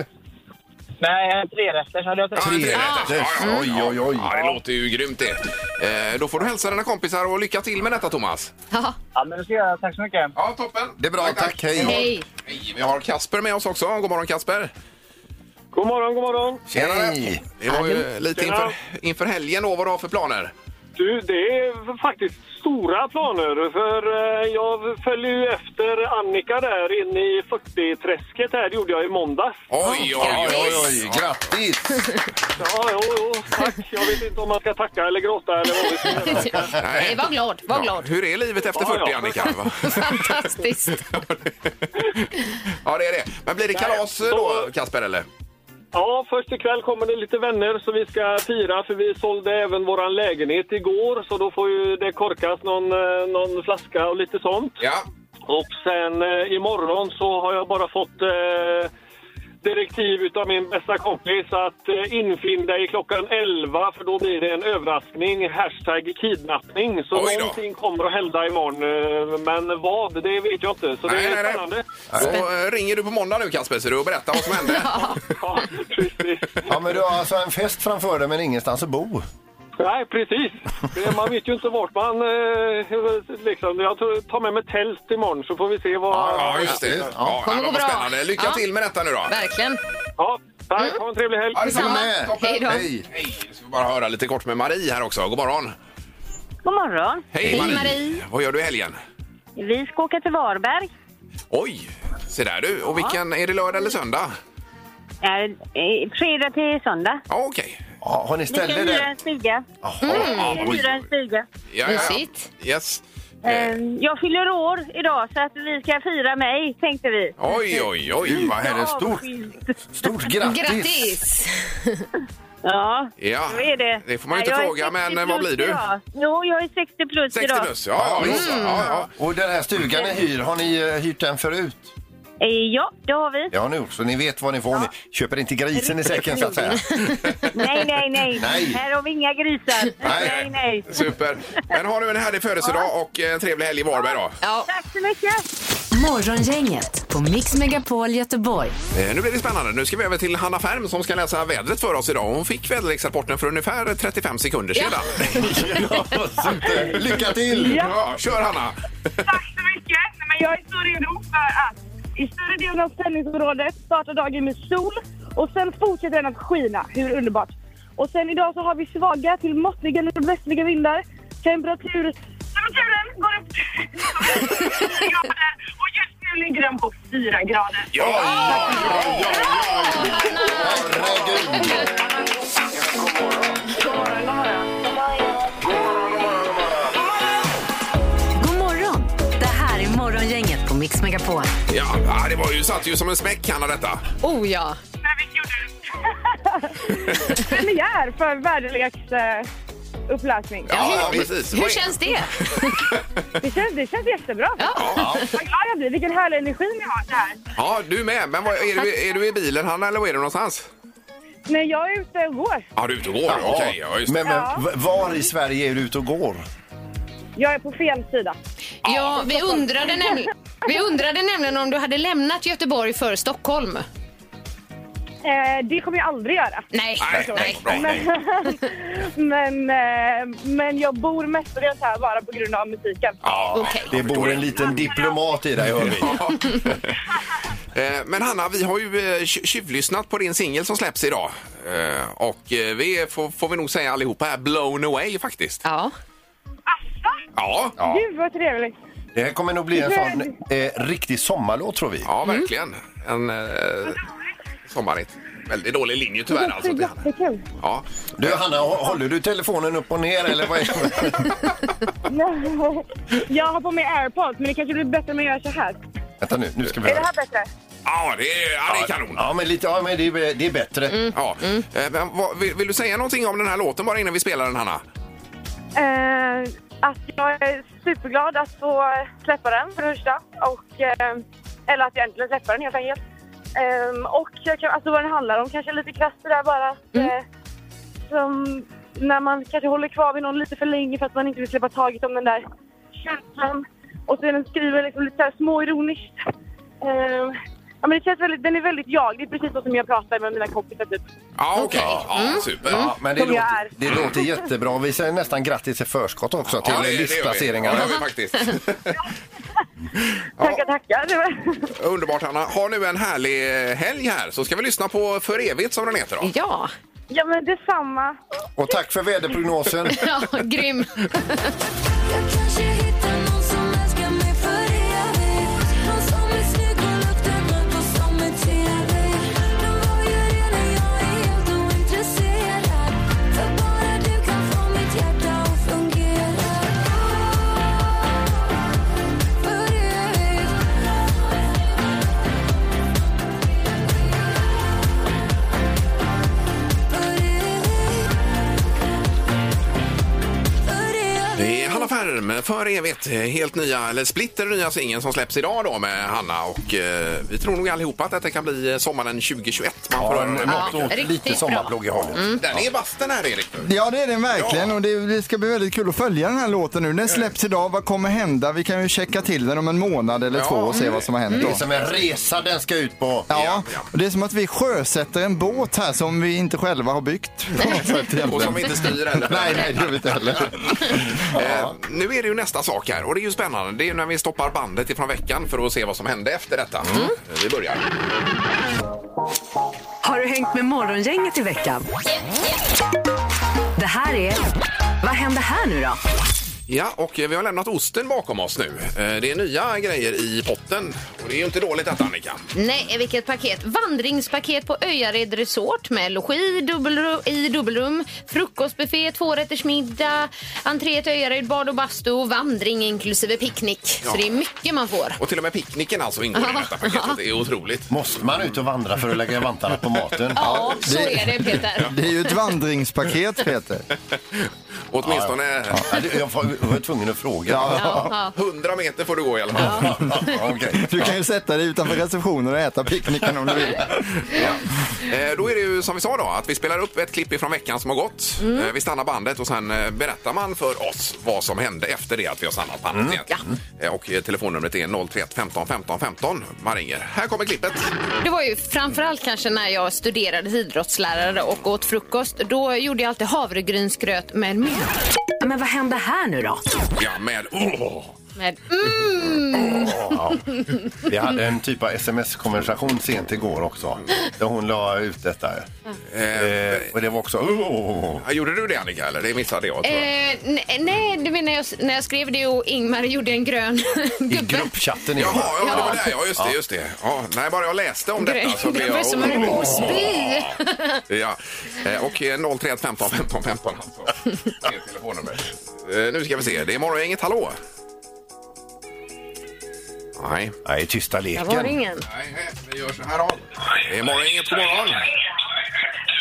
Speaker 10: Nej, en trerätter hade jag tänkt.
Speaker 1: Ja, en trerätter.
Speaker 2: Trerätter. Oj, oj, oj.
Speaker 1: Ja, det låter ju grymt det. Eh, Då får du hälsa dina kompisar och lycka till med detta Thomas.
Speaker 5: Ja,
Speaker 10: Ja, men det ska jag göra. Tack så mycket.
Speaker 1: Ja, toppen.
Speaker 2: Det är bra, tack. Hej.
Speaker 5: hej!
Speaker 1: Hej, Vi har Kasper med oss också. God morgon Kasper.
Speaker 10: God morgon, god morgon.
Speaker 2: Hej!
Speaker 1: Det var ju lite
Speaker 10: Tjena.
Speaker 1: inför, inför helgen då, vad du har för planer.
Speaker 10: Du, det är faktiskt stora planer. För eh, jag följer ju efter Annika där inne i 40-träsket här. Det gjorde jag i måndags.
Speaker 1: Oj, oj, oj,
Speaker 2: Oj, oj, oj. Grattis!
Speaker 10: Ja, jo, jo, tack. Jag vet inte om man ska tacka eller gråta eller vad vi ska göra.
Speaker 5: Nej, var glad, var
Speaker 1: Ja,
Speaker 5: glad.
Speaker 1: hur är livet efter
Speaker 10: Ja, ja.
Speaker 1: 40 Annika? Va?
Speaker 5: Fantastiskt.
Speaker 1: ja, det är det. Men blir det kalas då Kasper eller?
Speaker 10: Ja, först ikväll kommer det lite vänner som vi ska fira för vi sålde även våran lägenhet igår så då får ju det korkas någon, eh, någon flaska och lite sånt.
Speaker 1: Ja.
Speaker 10: Och sen eh, imorgon så har jag bara fått eh, direktiv utav min bästa kompis att eh, infinn dig klockan 11 för då blir det en överraskning. Hashtag kidnappning. Så
Speaker 1: Oj då.
Speaker 10: någonting kommer att hända imorgon. Eh, men vad, det vet jag inte. Så det är spännande.
Speaker 1: Då eh, ringer du på måndag nu Kasper så du och berättar vad som hände.
Speaker 10: Ja, precis.
Speaker 2: Ja, men du har alltså en fest framför dig men ingenstans att bo.
Speaker 10: Nej, precis. Det- Man vet ju inte vart man... Eh, liksom. Jag tror- tar med mig tält imorgon så får vi se vad...
Speaker 1: Ja, just det. Ja,
Speaker 2: Ja,
Speaker 1: ja,
Speaker 5: kommer
Speaker 1: men
Speaker 5: gå
Speaker 1: vad
Speaker 5: bra.
Speaker 1: spännande. Lycka
Speaker 5: Ja.
Speaker 1: till med detta nu då.
Speaker 5: Verkligen.
Speaker 10: Ja,
Speaker 6: Tack, ha en trevlig helg.
Speaker 2: Ja, detsamma.
Speaker 5: Detsamma.
Speaker 2: Toppen.
Speaker 5: Hej då.
Speaker 2: Hej.
Speaker 1: Hej! Nu ska vi bara höra lite kort med Marie här också. God morgon!
Speaker 7: God morgon.
Speaker 1: Hej,
Speaker 5: Hej, Marie.
Speaker 1: Vad gör du i helgen?
Speaker 7: Vi ska åka till Varberg.
Speaker 1: Oj! Se där du. Och vilken, är det lördag eller söndag?
Speaker 7: Eh, eh, Fredag till söndag.
Speaker 1: Ja, okej.
Speaker 2: Ja, har ni
Speaker 7: Vi ska
Speaker 2: ställe
Speaker 7: hyra en
Speaker 2: där?
Speaker 7: stuga.
Speaker 1: Jaha,
Speaker 7: Vi ska
Speaker 1: oj.
Speaker 7: hyra en stuga.
Speaker 1: Ja, ja, ja.
Speaker 5: Mysigt.
Speaker 1: Yes.
Speaker 7: Eh,
Speaker 1: Eh,
Speaker 7: Jag fyller år idag så att vi ska fira mig, tänkte vi.
Speaker 1: oj, oj, oj.
Speaker 2: Vad är det? Stort,
Speaker 7: Avskilt.
Speaker 2: stort grattis!
Speaker 5: Grattis!
Speaker 7: Ja,
Speaker 1: Ja,
Speaker 7: så är det.
Speaker 1: det får man ju inte
Speaker 7: Nej, jag är
Speaker 1: fråga, men eh,
Speaker 7: 60
Speaker 1: vad blir du?
Speaker 7: plus Idag. Jo, jag är 60 plus
Speaker 1: 60
Speaker 7: idag.
Speaker 1: plus. Ja, ja,
Speaker 2: Mm.
Speaker 1: visst. Ja, ja.
Speaker 2: Och den här stugan ni hyr, har ni eh, hyrt den förut?
Speaker 7: Eh, Ja, det har vi.
Speaker 2: Det har ni gjort, så ni vet vad ni får. Ni köper inte grisen i säcken så att säga.
Speaker 7: Nej, nej, nej.
Speaker 2: Nej.
Speaker 7: Här har vi inga grisar.
Speaker 2: Nej.
Speaker 7: nej. nej.
Speaker 1: Super. Men har du en härlig födelsedag och en trevlig helg i Varberg då.
Speaker 5: Ja.
Speaker 7: Tack så mycket.
Speaker 3: Morgongänget på Mix Megapol Göteborg.
Speaker 1: Eh, Nu blir det spännande. Nu ska vi över till Hanna Färm som ska läsa vädret för oss idag. Hon fick väderleksrapporten för ungefär 35 sekunder sedan.
Speaker 2: Ja, super. Lycka till!
Speaker 1: Ja, kör Hanna!
Speaker 7: Tack så mycket. Nej, men jag är så redo för att i större delen av sändningsområdet startar dagen med sol och sen fortsätter den att skina. Hur underbart. Och sen idag så har vi svaga till måttliga nordvästliga vindar. Temperatur... Temperaturen går upp till 4 grader och just nu ligger den på 4 grader.
Speaker 1: Ja!
Speaker 2: Herregud.
Speaker 11: God morgon, god morgon, god morgon.
Speaker 3: God morgon! Det här är Morgongänget på Mix Megapol.
Speaker 1: Ja, ah, det var ju, satt ju som en smäck Hanna detta.
Speaker 5: Oh ja.
Speaker 7: Men vi gjorde det. Premiär för värdeleksuppläsning.
Speaker 1: Ja,
Speaker 5: hur,
Speaker 1: precis.
Speaker 5: Hur känns det?
Speaker 7: Det känns, det känns jättebra.
Speaker 5: Ja.
Speaker 7: Vad glad jag blir. Vilken härlig energi ni har där.
Speaker 1: Ja, du med. Men vad, är, du, är du i bilen Hanna eller var är du någonstans?
Speaker 7: Nej, jag är ute och går.
Speaker 1: Ja, du är ute och går. Okej, ja, just det.
Speaker 2: Men, men v- var i Sverige är du ute och går?
Speaker 7: Jag är på fel sida.
Speaker 5: Ja, vi undrade, näml- vi undrade nämligen om du hade lämnat Göteborg för Stockholm.
Speaker 7: Eh, det kommer jag aldrig göra.
Speaker 5: Nej.
Speaker 1: Nej, nej, bra.
Speaker 7: Men, men, eh, men jag bor mestadels här bara på grund av musiken.
Speaker 1: Ja,
Speaker 5: Okej.
Speaker 2: Det bor en liten diplomat i dig, hör vi.
Speaker 1: Eh, Men Hanna, vi har ju eh, tju- tjuvlyssnat på din singel som släpps idag. Eh, Och eh, vi är, får, får vi nog säga allihopa här, blown away faktiskt.
Speaker 5: Ja.
Speaker 1: Ja, ja,
Speaker 7: Gud vad trevligt.
Speaker 2: Det här kommer nog bli en sån eh, riktig sommarlåt, tror vi.
Speaker 1: verkligen. En eh, sommarigt. Väldigt dålig linje tyvärr alltså till Hanna.
Speaker 7: Jättekul.
Speaker 1: Ja.
Speaker 2: Du, Hanna, hå- håller du telefonen upp och ner, eller vad är det?
Speaker 7: jag har på mig airpods men det kanske blir bättre om jag gör så här.
Speaker 2: Vänta nu, nu ska vi
Speaker 7: Är det
Speaker 2: höra.
Speaker 7: här bättre?
Speaker 1: Ja, det är, ja, det är kanon.
Speaker 2: Ja, men lite, ja, men det, är- det är bättre.
Speaker 7: Mhm.
Speaker 1: Ja. Eh, Men vad, vill, vill du säga någonting om den här låten bara innan vi spelar den Hanna?
Speaker 7: Eh, att jag är superglad att få släppa den för det första. Och, eh, eller att jag äntligen släpper den helt enkelt. Ehm, och jag kan, alltså vad den handlar om kanske lite krasst det där bara. Att, eh, som när man kanske håller kvar vid någon lite för länge för att man inte vill släppa taget om den där känslan. Och så är den skriven liksom lite så här småironiskt. Ehm, ja, men det känns väldigt, den är väldigt jag. Det är precis så som jag pratar med mina kompisar typ.
Speaker 1: Ja, okej. Mm. Ja, super.
Speaker 2: Ja, men det
Speaker 7: Som jag
Speaker 2: låter,
Speaker 7: är.
Speaker 2: det låter jättebra. Vi säger nästan grattis i förskott också till
Speaker 1: Ja, det- det gör vi.
Speaker 2: listplaceringarna.
Speaker 1: Ja, det gör vi faktiskt.
Speaker 7: Tackar, tackar. Det var-
Speaker 1: Underbart Hanna. Ha nu en härlig eh, helg här så ska vi lyssna på För evigt som den heter då.
Speaker 5: Ja.
Speaker 7: Ja men detsamma.
Speaker 2: Och tack för väderprognosen.
Speaker 5: ja, grym.
Speaker 1: Det är Hanna Färm för evigt. Helt nya, eller splitter nya singeln som släpps idag då med Hanna och eh, vi tror nog allihopa att detta kan bli eh, sommaren 2021. Man får
Speaker 2: Ja,
Speaker 1: höra
Speaker 2: en-
Speaker 1: den.
Speaker 2: något åt
Speaker 5: riktigt
Speaker 2: lite
Speaker 5: bra.
Speaker 2: sommarplåg i havet.
Speaker 7: Mm.
Speaker 1: Den är i basten här Erik.
Speaker 4: Ja det är den verkligen och det, det ska bli väldigt kul att följa den här låten nu. Den släpps idag, vad kommer hända? Vi kan ju checka till den om en månad eller
Speaker 1: Ja.
Speaker 4: två och se vad som har hänt
Speaker 2: Det
Speaker 4: då.
Speaker 2: är som en resa den ska ut på.
Speaker 4: Ja, och det är som att vi sjösätter en båt här som vi inte själva har byggt. på något sätt
Speaker 1: Och som
Speaker 4: egentligen.
Speaker 1: vi inte styr heller.
Speaker 4: Nej, nej, det gör vi inte heller.
Speaker 1: Eh, nu är det ju nästa sak här och det är ju spännande. Det är ju när vi stoppar bandet
Speaker 4: Mm.
Speaker 1: ifrån veckan för att se vad som hände efter detta. Vi börjar.
Speaker 3: Har
Speaker 12: Har du hängt med Morgongänget i veckan? Det här är... Vad händer här nu då?
Speaker 1: Ja, och eh, vi har lämnat osten bakom oss nu. Eh, Det är nya grejer i potten och det är ju inte dåligt detta Annika.
Speaker 5: Nej, vilket paket. Vandringspaket på Öjared Resort med logi dubbelrum, i dubbelrum, frukostbuffé, tvårättersmiddag, entré till Öjared, bad och bastu och vandring inklusive picknick.
Speaker 1: Ja.
Speaker 5: Så det är mycket man får.
Speaker 1: Och till och med picknicken alltså ingår i detta paketet. Det är otroligt.
Speaker 2: Måste man ut och vandra för att lägga vantarna på maten?
Speaker 5: Ja, så
Speaker 4: det-
Speaker 5: är det Peter.
Speaker 4: Det är ju ett vandringspaket, Peter.
Speaker 1: Åtminstone
Speaker 2: Ja, det- Jag var var tvungen att fråga.
Speaker 5: Ja,
Speaker 1: 100 meter får du gå i alla fall.
Speaker 2: Ja, okej.
Speaker 4: Du kan ju sätta dig utanför receptionen och äta picknicken om du vill.
Speaker 1: Eh, Då är det ju som vi sa då, att vi spelar upp ett klipp ifrån veckan som har gått.
Speaker 2: Mm.
Speaker 1: Eh, Vi stannar bandet och sen eh, berättar man för oss vad som hände efter det att vi har stannat bandet
Speaker 2: Mm.
Speaker 1: igen. Eh, Och eh, telefonnumret är 031 15 15 15. Man ringer. Här kommer klippet.
Speaker 5: Det var ju framförallt kanske när jag studerade till idrottslärare och åt frukost. Då gjorde jag alltid havregrynsgröt med mjölk.
Speaker 12: Men vad händer här nu då?
Speaker 1: Ja, med... Åh!
Speaker 5: Med, mm,
Speaker 2: Vi hade en typ av sms-konversation sent igår också. Där hon la ut detta. Eh, och det var också... Oh,
Speaker 1: Ja, Gjorde du det Annika? Eller det missade jag tror jag.
Speaker 5: eh, ne- nej, det menar jag s- när jag skrev det och Ingmar gjorde en grön
Speaker 2: I
Speaker 5: gubbe.
Speaker 2: gruppchatten.
Speaker 1: Jaha,
Speaker 2: Ingmar.
Speaker 1: ja, det var det. Ja, just det. Just det. Ja, nej, bara jag läste om detta så blev
Speaker 5: Det var
Speaker 1: jag...
Speaker 5: som en osby.
Speaker 1: Ja. Eh, Och eh, 031 15 15 15 alltså. Det är telefonnumret. Eh, Nu ska vi se. Det är Morgongänget. Hallå! Nej.
Speaker 2: Nej, tysta
Speaker 5: Där var det
Speaker 2: leken.
Speaker 5: ingen.
Speaker 1: Nej, nej, vi gör så här då. Det är Morgongänget. God morgon!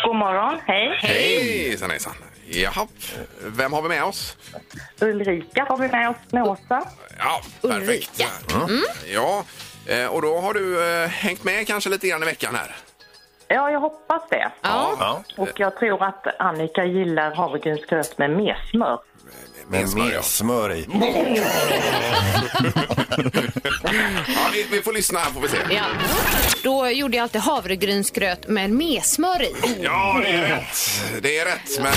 Speaker 7: God morgon, hej.
Speaker 1: Hej! Hejsan, hejsan. Jaha. Vem har vi med oss?
Speaker 7: Ulrika har vi med oss med Åsa.
Speaker 1: Ja, perfekt. Mm. Ja, eh, och då har du eh, hängt med kanske lite grann i veckan här.
Speaker 7: Ja, jag hoppas det.
Speaker 5: Ja.
Speaker 2: Ja,
Speaker 7: Och jag tror att Annika gillar havregrynsgröt med mer smör.
Speaker 2: med
Speaker 1: smör, ja.
Speaker 2: mer smör i.
Speaker 1: Ja, vi, vi får lyssna här får vi se.
Speaker 5: Ja. Då gjorde jag alltid havregrynsgröt med mesmör i.
Speaker 1: Ja, det är rätt. Det är rätt, men...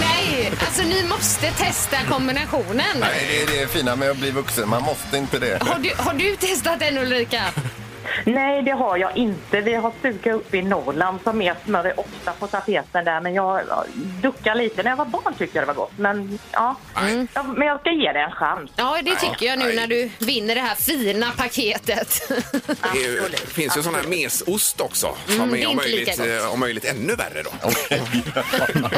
Speaker 5: Nej, alltså ni måste testa kombinationen.
Speaker 2: Nej, det är det fina med att bli vuxen. Man måste inte det.
Speaker 5: Har du, har du testat den Ulrika?
Speaker 7: Nej, det har jag inte. Vi har stuga uppe i Norrland så mer smör är ofta på tapeten där. Men jag jag duckar lite. När jag var barn tyckte jag det var gott. Men ja, ja men jag ska ge det en chans.
Speaker 5: Ja, det tycker jag nu
Speaker 1: nej.
Speaker 5: när du vinner det här fina paketet.
Speaker 1: Det är ju-
Speaker 7: Absolut.
Speaker 1: finns ju sån här mesost också som
Speaker 5: Mm, det
Speaker 1: är
Speaker 5: är
Speaker 1: om
Speaker 5: inte
Speaker 1: möjligt,
Speaker 5: lika gott.
Speaker 1: eh, om möjligt ännu värre då.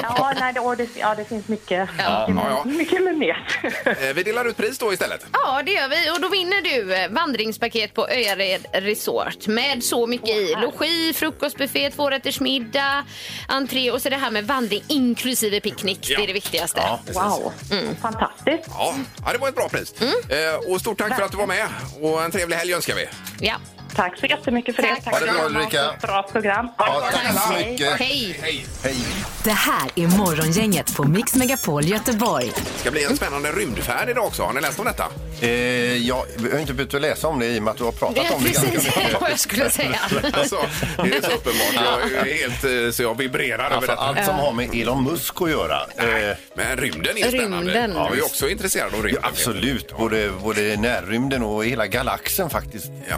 Speaker 7: Ja, nej, det, och det, ja, det finns mycket,
Speaker 5: Ja.
Speaker 1: Ja,
Speaker 7: mycket med mer.
Speaker 1: Eh, Vi delar ut pris då istället.
Speaker 5: Ja, det gör vi. Och då vinner du eh, vandringspaket på Öjared Resort med så mycket i. Logi, frukostbuffé, tvårättersmiddag, entré och så det här med vandring inklusive picknick. Det är det viktigaste.
Speaker 7: Wow, fantastiskt.
Speaker 1: Ja, ja det var ett bra pris.
Speaker 5: Mm.
Speaker 1: Eh, Och stort tack för att du var med och en trevlig helg önskar vi.
Speaker 5: Ja.
Speaker 7: Tack så jättemycket för det.
Speaker 5: Tack.
Speaker 7: Tack
Speaker 2: Ha det bra,
Speaker 7: för ett
Speaker 2: Ulrika.
Speaker 7: Bra program.
Speaker 2: Ja, tack så mycket.
Speaker 5: Hej!
Speaker 2: Hej.
Speaker 12: Det här är Morgongänget på Mix Megapol Göteborg.
Speaker 1: Det ska
Speaker 5: Mm.
Speaker 1: bli en spännande rymdfärd idag också. Har ni läst om detta?
Speaker 2: Eh, jag jag har inte behövt att läsa om det i och med att du har
Speaker 5: Det
Speaker 2: pratat
Speaker 5: är
Speaker 2: om det ganska
Speaker 5: precis
Speaker 2: mycket.
Speaker 5: vad jag skulle säga.
Speaker 1: Alltså, det är så uppenbart. Jag är helt, eh, så jag vibrerar över
Speaker 2: Alltså,
Speaker 1: detta.
Speaker 2: allt som har med Elon Musk att göra. Eh,
Speaker 1: Men rymden är spännande.
Speaker 5: Rymden.
Speaker 1: Jag är ju också intresserad av
Speaker 2: ja,
Speaker 1: rymden.
Speaker 2: absolut, både, både närrymden och hela galaxen faktiskt.
Speaker 1: Ja.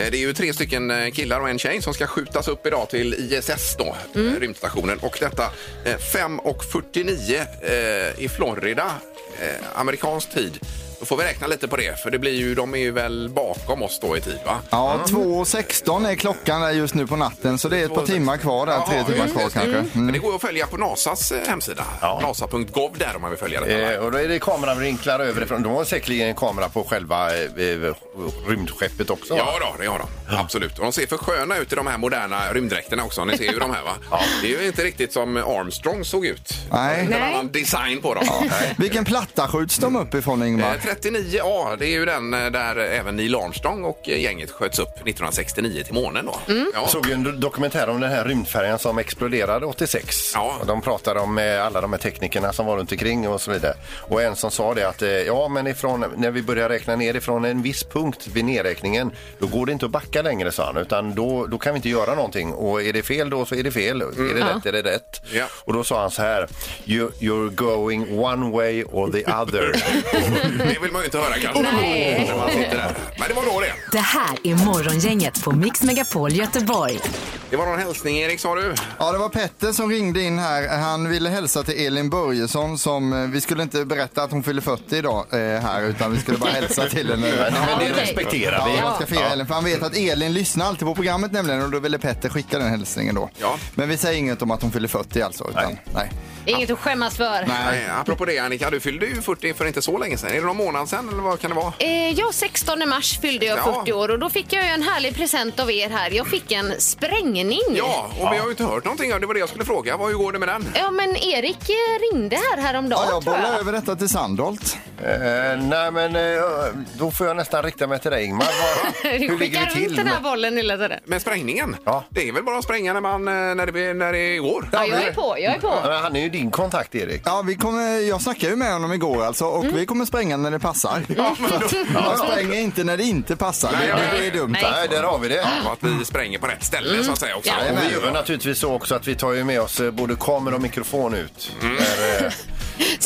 Speaker 1: Eh, Det är ju tre stycken eh, killar och en tjej som ska skjutas upp idag till ISS, då, eh, rymdstationen. Och detta eh, 5.49 eh, i Florida, eh, amerikansk tid. Då får vi räkna lite på det, för det blir ju, de är ju väl bakom oss då i tid, va?
Speaker 4: Ja, 2.16 är klockan där just nu på natten, så det är ett par timmar kvar där. Tre
Speaker 1: Jaha,
Speaker 4: timmar
Speaker 1: just
Speaker 4: kvar
Speaker 1: det.
Speaker 4: kanske.
Speaker 1: Men
Speaker 4: Mm.
Speaker 1: det går ju att följa på NASAs eh, hemsida,
Speaker 2: Ja.
Speaker 1: nasa.gov där om man vill följa det.
Speaker 2: Eh, och då är det kameravinklar överifrån. De har säkerligen en kamera på själva eh, eh, rymdskeppet också. va?
Speaker 1: Ja, då, det har de. Absolut. Och de ser för sköna ut i de här moderna rymddräkterna också. Ni ser ju de här, va? Det är ju inte riktigt som Armstrong såg ut.
Speaker 4: Nej.
Speaker 1: Det är En
Speaker 5: Nej.
Speaker 1: annan design på dem.
Speaker 4: Vilken platta skjuts de upp ifrån
Speaker 1: Eh,
Speaker 4: Ingmar?
Speaker 1: 39A, det är ju den eh, där även Neil Armstrong och eh, gänget sköts upp 1969 till månen. Då. Ja.
Speaker 2: Jag såg ju en do- dokumentär om den här rymdfärjan som exploderade 86.
Speaker 1: Ja.
Speaker 2: Och De pratade om eh, alla de här teknikerna som var runt omkring och så vidare. Och en som sa det att eh, ja, men ifrån, när vi börjar räkna ner ifrån en viss punkt vid nedräkningen, då går det inte att backa längre, sa han, utan då, då kan vi inte göra någonting. Och är det fel då så är det fel. Är det rätt är det rätt.
Speaker 1: Mm. Ja.
Speaker 2: Och då sa han så här, you, you're going one way or the other.
Speaker 1: Det vill man ju inte höra kanske.
Speaker 5: Nej.
Speaker 1: När man sitter där. Men det var då det.
Speaker 12: Det här är Morgongänget på Mix Megapol Göteborg.
Speaker 1: Det var någon hälsning Erik sa du?
Speaker 4: Ja, det var Petter som ringde in här. Han ville hälsa till Elin Börjesson som, eh, vi skulle inte berätta att hon fyller 40 idag eh, här utan vi skulle bara hälsa till henne.
Speaker 2: Men- men det Okej. respekterar vi.
Speaker 4: Ja, man ska fira
Speaker 2: Ja.
Speaker 4: Elin för han vet att Elin lyssnar alltid på programmet nämligen och då ville Petter skicka den hälsningen då. Men vi säger inget om att hon fyller 40 alltså. Utan, nej. Nej.
Speaker 5: Det är inget att skämmas för.
Speaker 1: Nej, apropå det Annika, du fyllde ju 40 för inte så länge sedan. Är det någon månad sedan eller vad kan det vara?
Speaker 5: Eh, Jag 16 mars fyllde jag
Speaker 1: Ja.
Speaker 5: 40 år och då fick jag ju en härlig present av er här. Jag fick en sprängning.
Speaker 1: Ja, och vi har ju inte hört någonting. av Det Det var det jag skulle fråga. Vad- Hur går det med den?
Speaker 5: Ja, men Erik eh, ringde här häromdagen
Speaker 4: Ja, jag
Speaker 5: tror
Speaker 4: bollar
Speaker 5: jag.
Speaker 4: över detta till Sandholt.
Speaker 2: Eh, nej, men eh, då får jag nästan rikta mig till dig, Ingmar. Vad-
Speaker 5: Vi
Speaker 2: Hur ligger
Speaker 5: skickar
Speaker 2: vi
Speaker 5: runt
Speaker 2: till?
Speaker 5: den här bollen lilla Tore.
Speaker 1: Med sprängningen? Ja. Det är väl bara att spränga när, man, eh, när, det, när det går?
Speaker 5: Ja, jag är på, jag är på.
Speaker 2: Han är ju din kontakt, Erik.
Speaker 4: Ja, vi kommer, jag snackade ju med honom igår alltså och vi kommer spränga när det passar. Man spränger inte när det inte passar.
Speaker 1: Nej, ja,
Speaker 4: det, det är dumt.
Speaker 2: Nej. Nej, där har vi det.
Speaker 1: Och att vi spränger på rätt ställe så att säga också.
Speaker 2: Ja, och vi gör naturligtvis så också att vi tar ju med oss eh, både kamera och mikrofon ut. När, eh,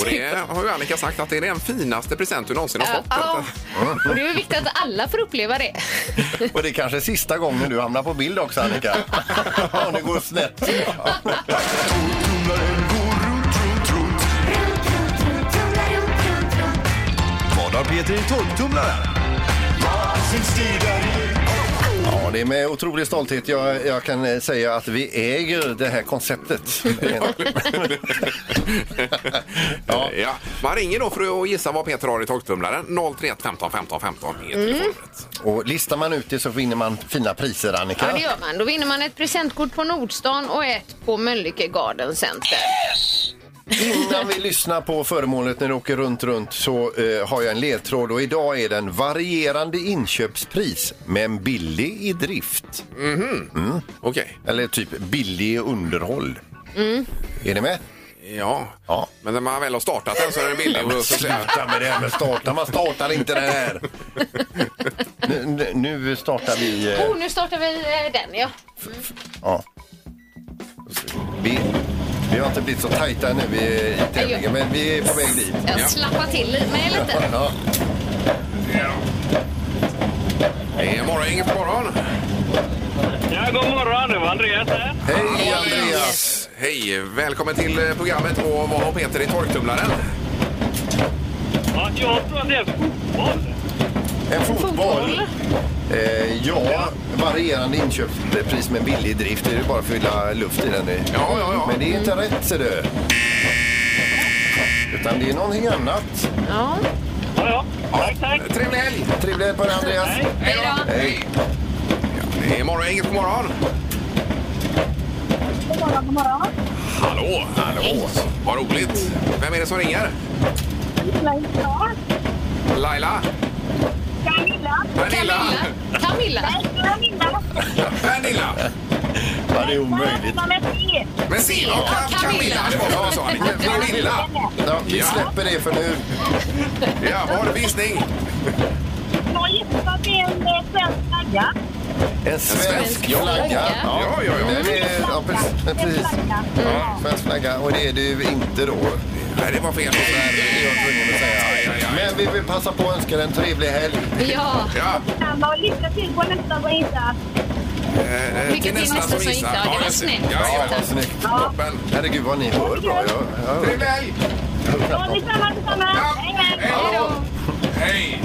Speaker 1: Och det har ju Annika sagt att det är den finaste present du någonsin har fått.
Speaker 5: Ja, och det är ju viktigt att alla får uppleva det.
Speaker 2: och det är kanske sista gången du hamnar på bild också, Annika. Om det går snett.
Speaker 13: Vad har Peter i tolvtumlaren?
Speaker 2: Ja, det är med otrolig stolthet jag, jag kan eh, säga att vi äger det här konceptet.
Speaker 1: Ja. Ja. Man ringer då för att gissa vad Peter har i torktumlaren. 031 15 15 15 är telefonnumret.
Speaker 2: och listar man ut det så vinner man fina priser, Annika.
Speaker 5: Ja, det gör man. Då vinner man ett presentkort på Nordstan och ett på Mölnlycke Garden Center.
Speaker 2: Innan vi lyssnar på föremålet när du åker runt, runt så eh, har jag en ledtråd och idag är den varierande inköpspris men billig i drift. Mm.
Speaker 1: Okej.
Speaker 2: Eller typ billig i underhåll. Är ni med?
Speaker 1: Ja.
Speaker 2: Ja.
Speaker 1: men när man väl har startat den så är den billig. Och så
Speaker 2: Sluta med det här med starta, man startar inte det här. Nu, nu- nu startar vi... eh,
Speaker 5: Oh, nu startar vi eh, den ja.
Speaker 2: Ja. Vi, vi har inte blivit så tajta nu i, i tävlingen, men vi är på väg dit.
Speaker 5: Jag slappar till mig lite.
Speaker 2: Ja.
Speaker 1: Det är morgon, inget morgon.
Speaker 6: Ja, god morgon. Det var Andreas här.
Speaker 2: Hej Andreas!
Speaker 1: Hej, välkommen till eh, programmet och vad har Peter i torktumlaren?
Speaker 6: Ja, jag tror att det är fotboll.
Speaker 2: En fotboll. Eh, ja, varierande inköpspris men billig drift. Det är ju bara att fylla luft i den. Ja,
Speaker 1: ja, ja.
Speaker 2: Men det är inte rätt ser du. Utan det är någonting annat.
Speaker 5: Ja.
Speaker 6: Ja, ja. Tack, tack.
Speaker 1: Trevlig helg!
Speaker 2: Trevlig helg på dig Andreas.
Speaker 5: Hej då.
Speaker 2: Hej.
Speaker 1: Det är morgon, inget morgon.
Speaker 11: God morgon.
Speaker 1: Hallå! Hallå! Vad roligt! Vem är det som ringer? Laila?
Speaker 11: Camilla.
Speaker 1: Pernilla?
Speaker 5: Camilla. Camilla.
Speaker 11: Camilla.
Speaker 1: Pernilla?
Speaker 2: Ja, det är omöjligt.
Speaker 11: Man är tre.
Speaker 1: Men se, ja, Cam- Camilla! Det var vad jag sa. Pernilla!
Speaker 11: eh,
Speaker 2: Ja, vi
Speaker 1: Ja.
Speaker 2: släpper det för nu.
Speaker 1: Ja, vad har du för gissning?
Speaker 11: Jag gissar att det är en eh, svensk flagga.
Speaker 2: En svensk
Speaker 1: Ja.
Speaker 2: flagga.
Speaker 1: Ja, ja, ja.
Speaker 2: Det är, ja, pre- precis. Ja, svensk flagga. Och det är det ju inte då.
Speaker 1: Nej, det var fel.
Speaker 2: Där är jag tvungen att
Speaker 1: Ja,
Speaker 2: säga.
Speaker 1: ja, ja.
Speaker 2: Men vi vill passa på att önska dig en trevlig helg.
Speaker 5: Ja,
Speaker 1: Ja,
Speaker 11: Samma och lycka till på nästa som gissar.
Speaker 1: eh,
Speaker 5: Mycket till nästa som
Speaker 1: gissar.
Speaker 5: gissar. Det var
Speaker 1: just
Speaker 5: snyggt.
Speaker 1: Ja, ja.
Speaker 2: vad snyggt.
Speaker 1: Toppen!
Speaker 2: Herregud vad ni hör bra. Jag, jag hör
Speaker 1: Trevlig helg!
Speaker 11: Ja, detsamma, detsamma.
Speaker 1: Ja.
Speaker 11: Hej, hej.
Speaker 1: Hej då! Hej!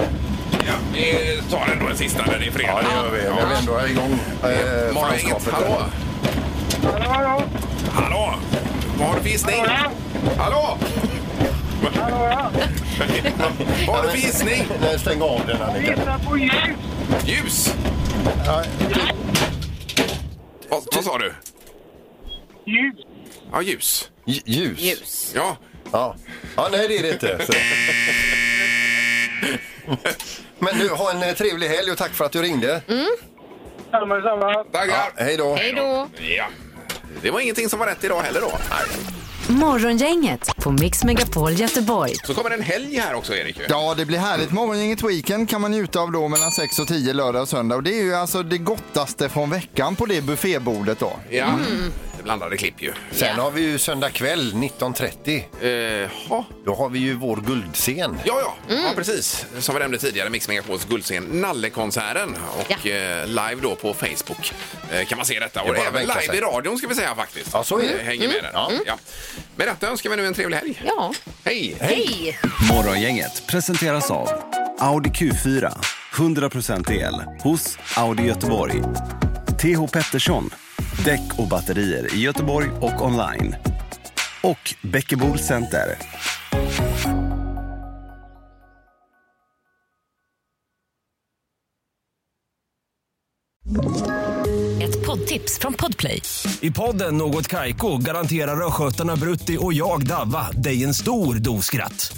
Speaker 1: Ja, vi tar ändå en sista när det är fredag.
Speaker 2: Ja, det gör vi. Jag vill ändå ha igång eh,
Speaker 1: Morgongänget,
Speaker 2: fanskapet.
Speaker 1: hallå!
Speaker 6: Hallå, hallå.
Speaker 1: Hallå! Vad har du för gissning? Hallå! Vad har du för gissning?
Speaker 2: Nej, stäng av den Annika.
Speaker 6: Gissa på ljus.
Speaker 1: Ljus! Vad, vad sa du?
Speaker 6: Ljus.
Speaker 1: Ja, ljus.
Speaker 2: J- Ljus.
Speaker 5: ljus.
Speaker 1: Ja,
Speaker 2: Ja. ja, nej det är det inte. Så. Men du, ha en eh, trevlig helg och tack för att du ringde.
Speaker 6: Samma, samma.
Speaker 1: tackar!
Speaker 2: Hej då.
Speaker 5: Mm. Hej då.
Speaker 1: Ja. Det var ingenting som var rätt idag heller då.
Speaker 3: Morgongänget på Mix Megapol Göteborg.
Speaker 1: Så kommer en helg här också, Erik. ju.
Speaker 4: Ja, det blir härligt. Morgongänget Weekend kan man njuta av då mellan 6 och
Speaker 2: Mm.
Speaker 4: 10 lördag och söndag. Och det är ju alltså det gottaste från veckan på det buffébordet då.
Speaker 1: Ja. blandade klipp ju.
Speaker 2: Sen har vi ju söndag kväll 19.30. Då har vi ju vår guldscen.
Speaker 1: Eh, Ja, ja. ja, precis. Som vi nämnde tidigare, Mix Megapols guldscen Nallekonserten. Och eh, live då på Facebook eh, kan man se detta.
Speaker 2: Det är
Speaker 1: Och
Speaker 2: bara att
Speaker 1: även
Speaker 2: bänka
Speaker 1: live
Speaker 2: sig.
Speaker 1: i radion ska vi säga faktiskt. Ja,
Speaker 2: så är det. Mm.
Speaker 1: Hänger med där. Ja, ja. Med detta önskar vi nu en trevlig helg.
Speaker 5: Ja.
Speaker 1: Hej!
Speaker 5: Hej!
Speaker 13: Morgongänget presenteras av Audi Q4. 100% el hos Audi Göteborg. TH Pettersson. Däck och batterier i Göteborg och online. Och Bäckebol Center.
Speaker 14: Ett poddtips från Podplay.
Speaker 15: I podden Något Kaiko garanterar östgötarna Brutti och jag, Davva, dig en stor dos skratt.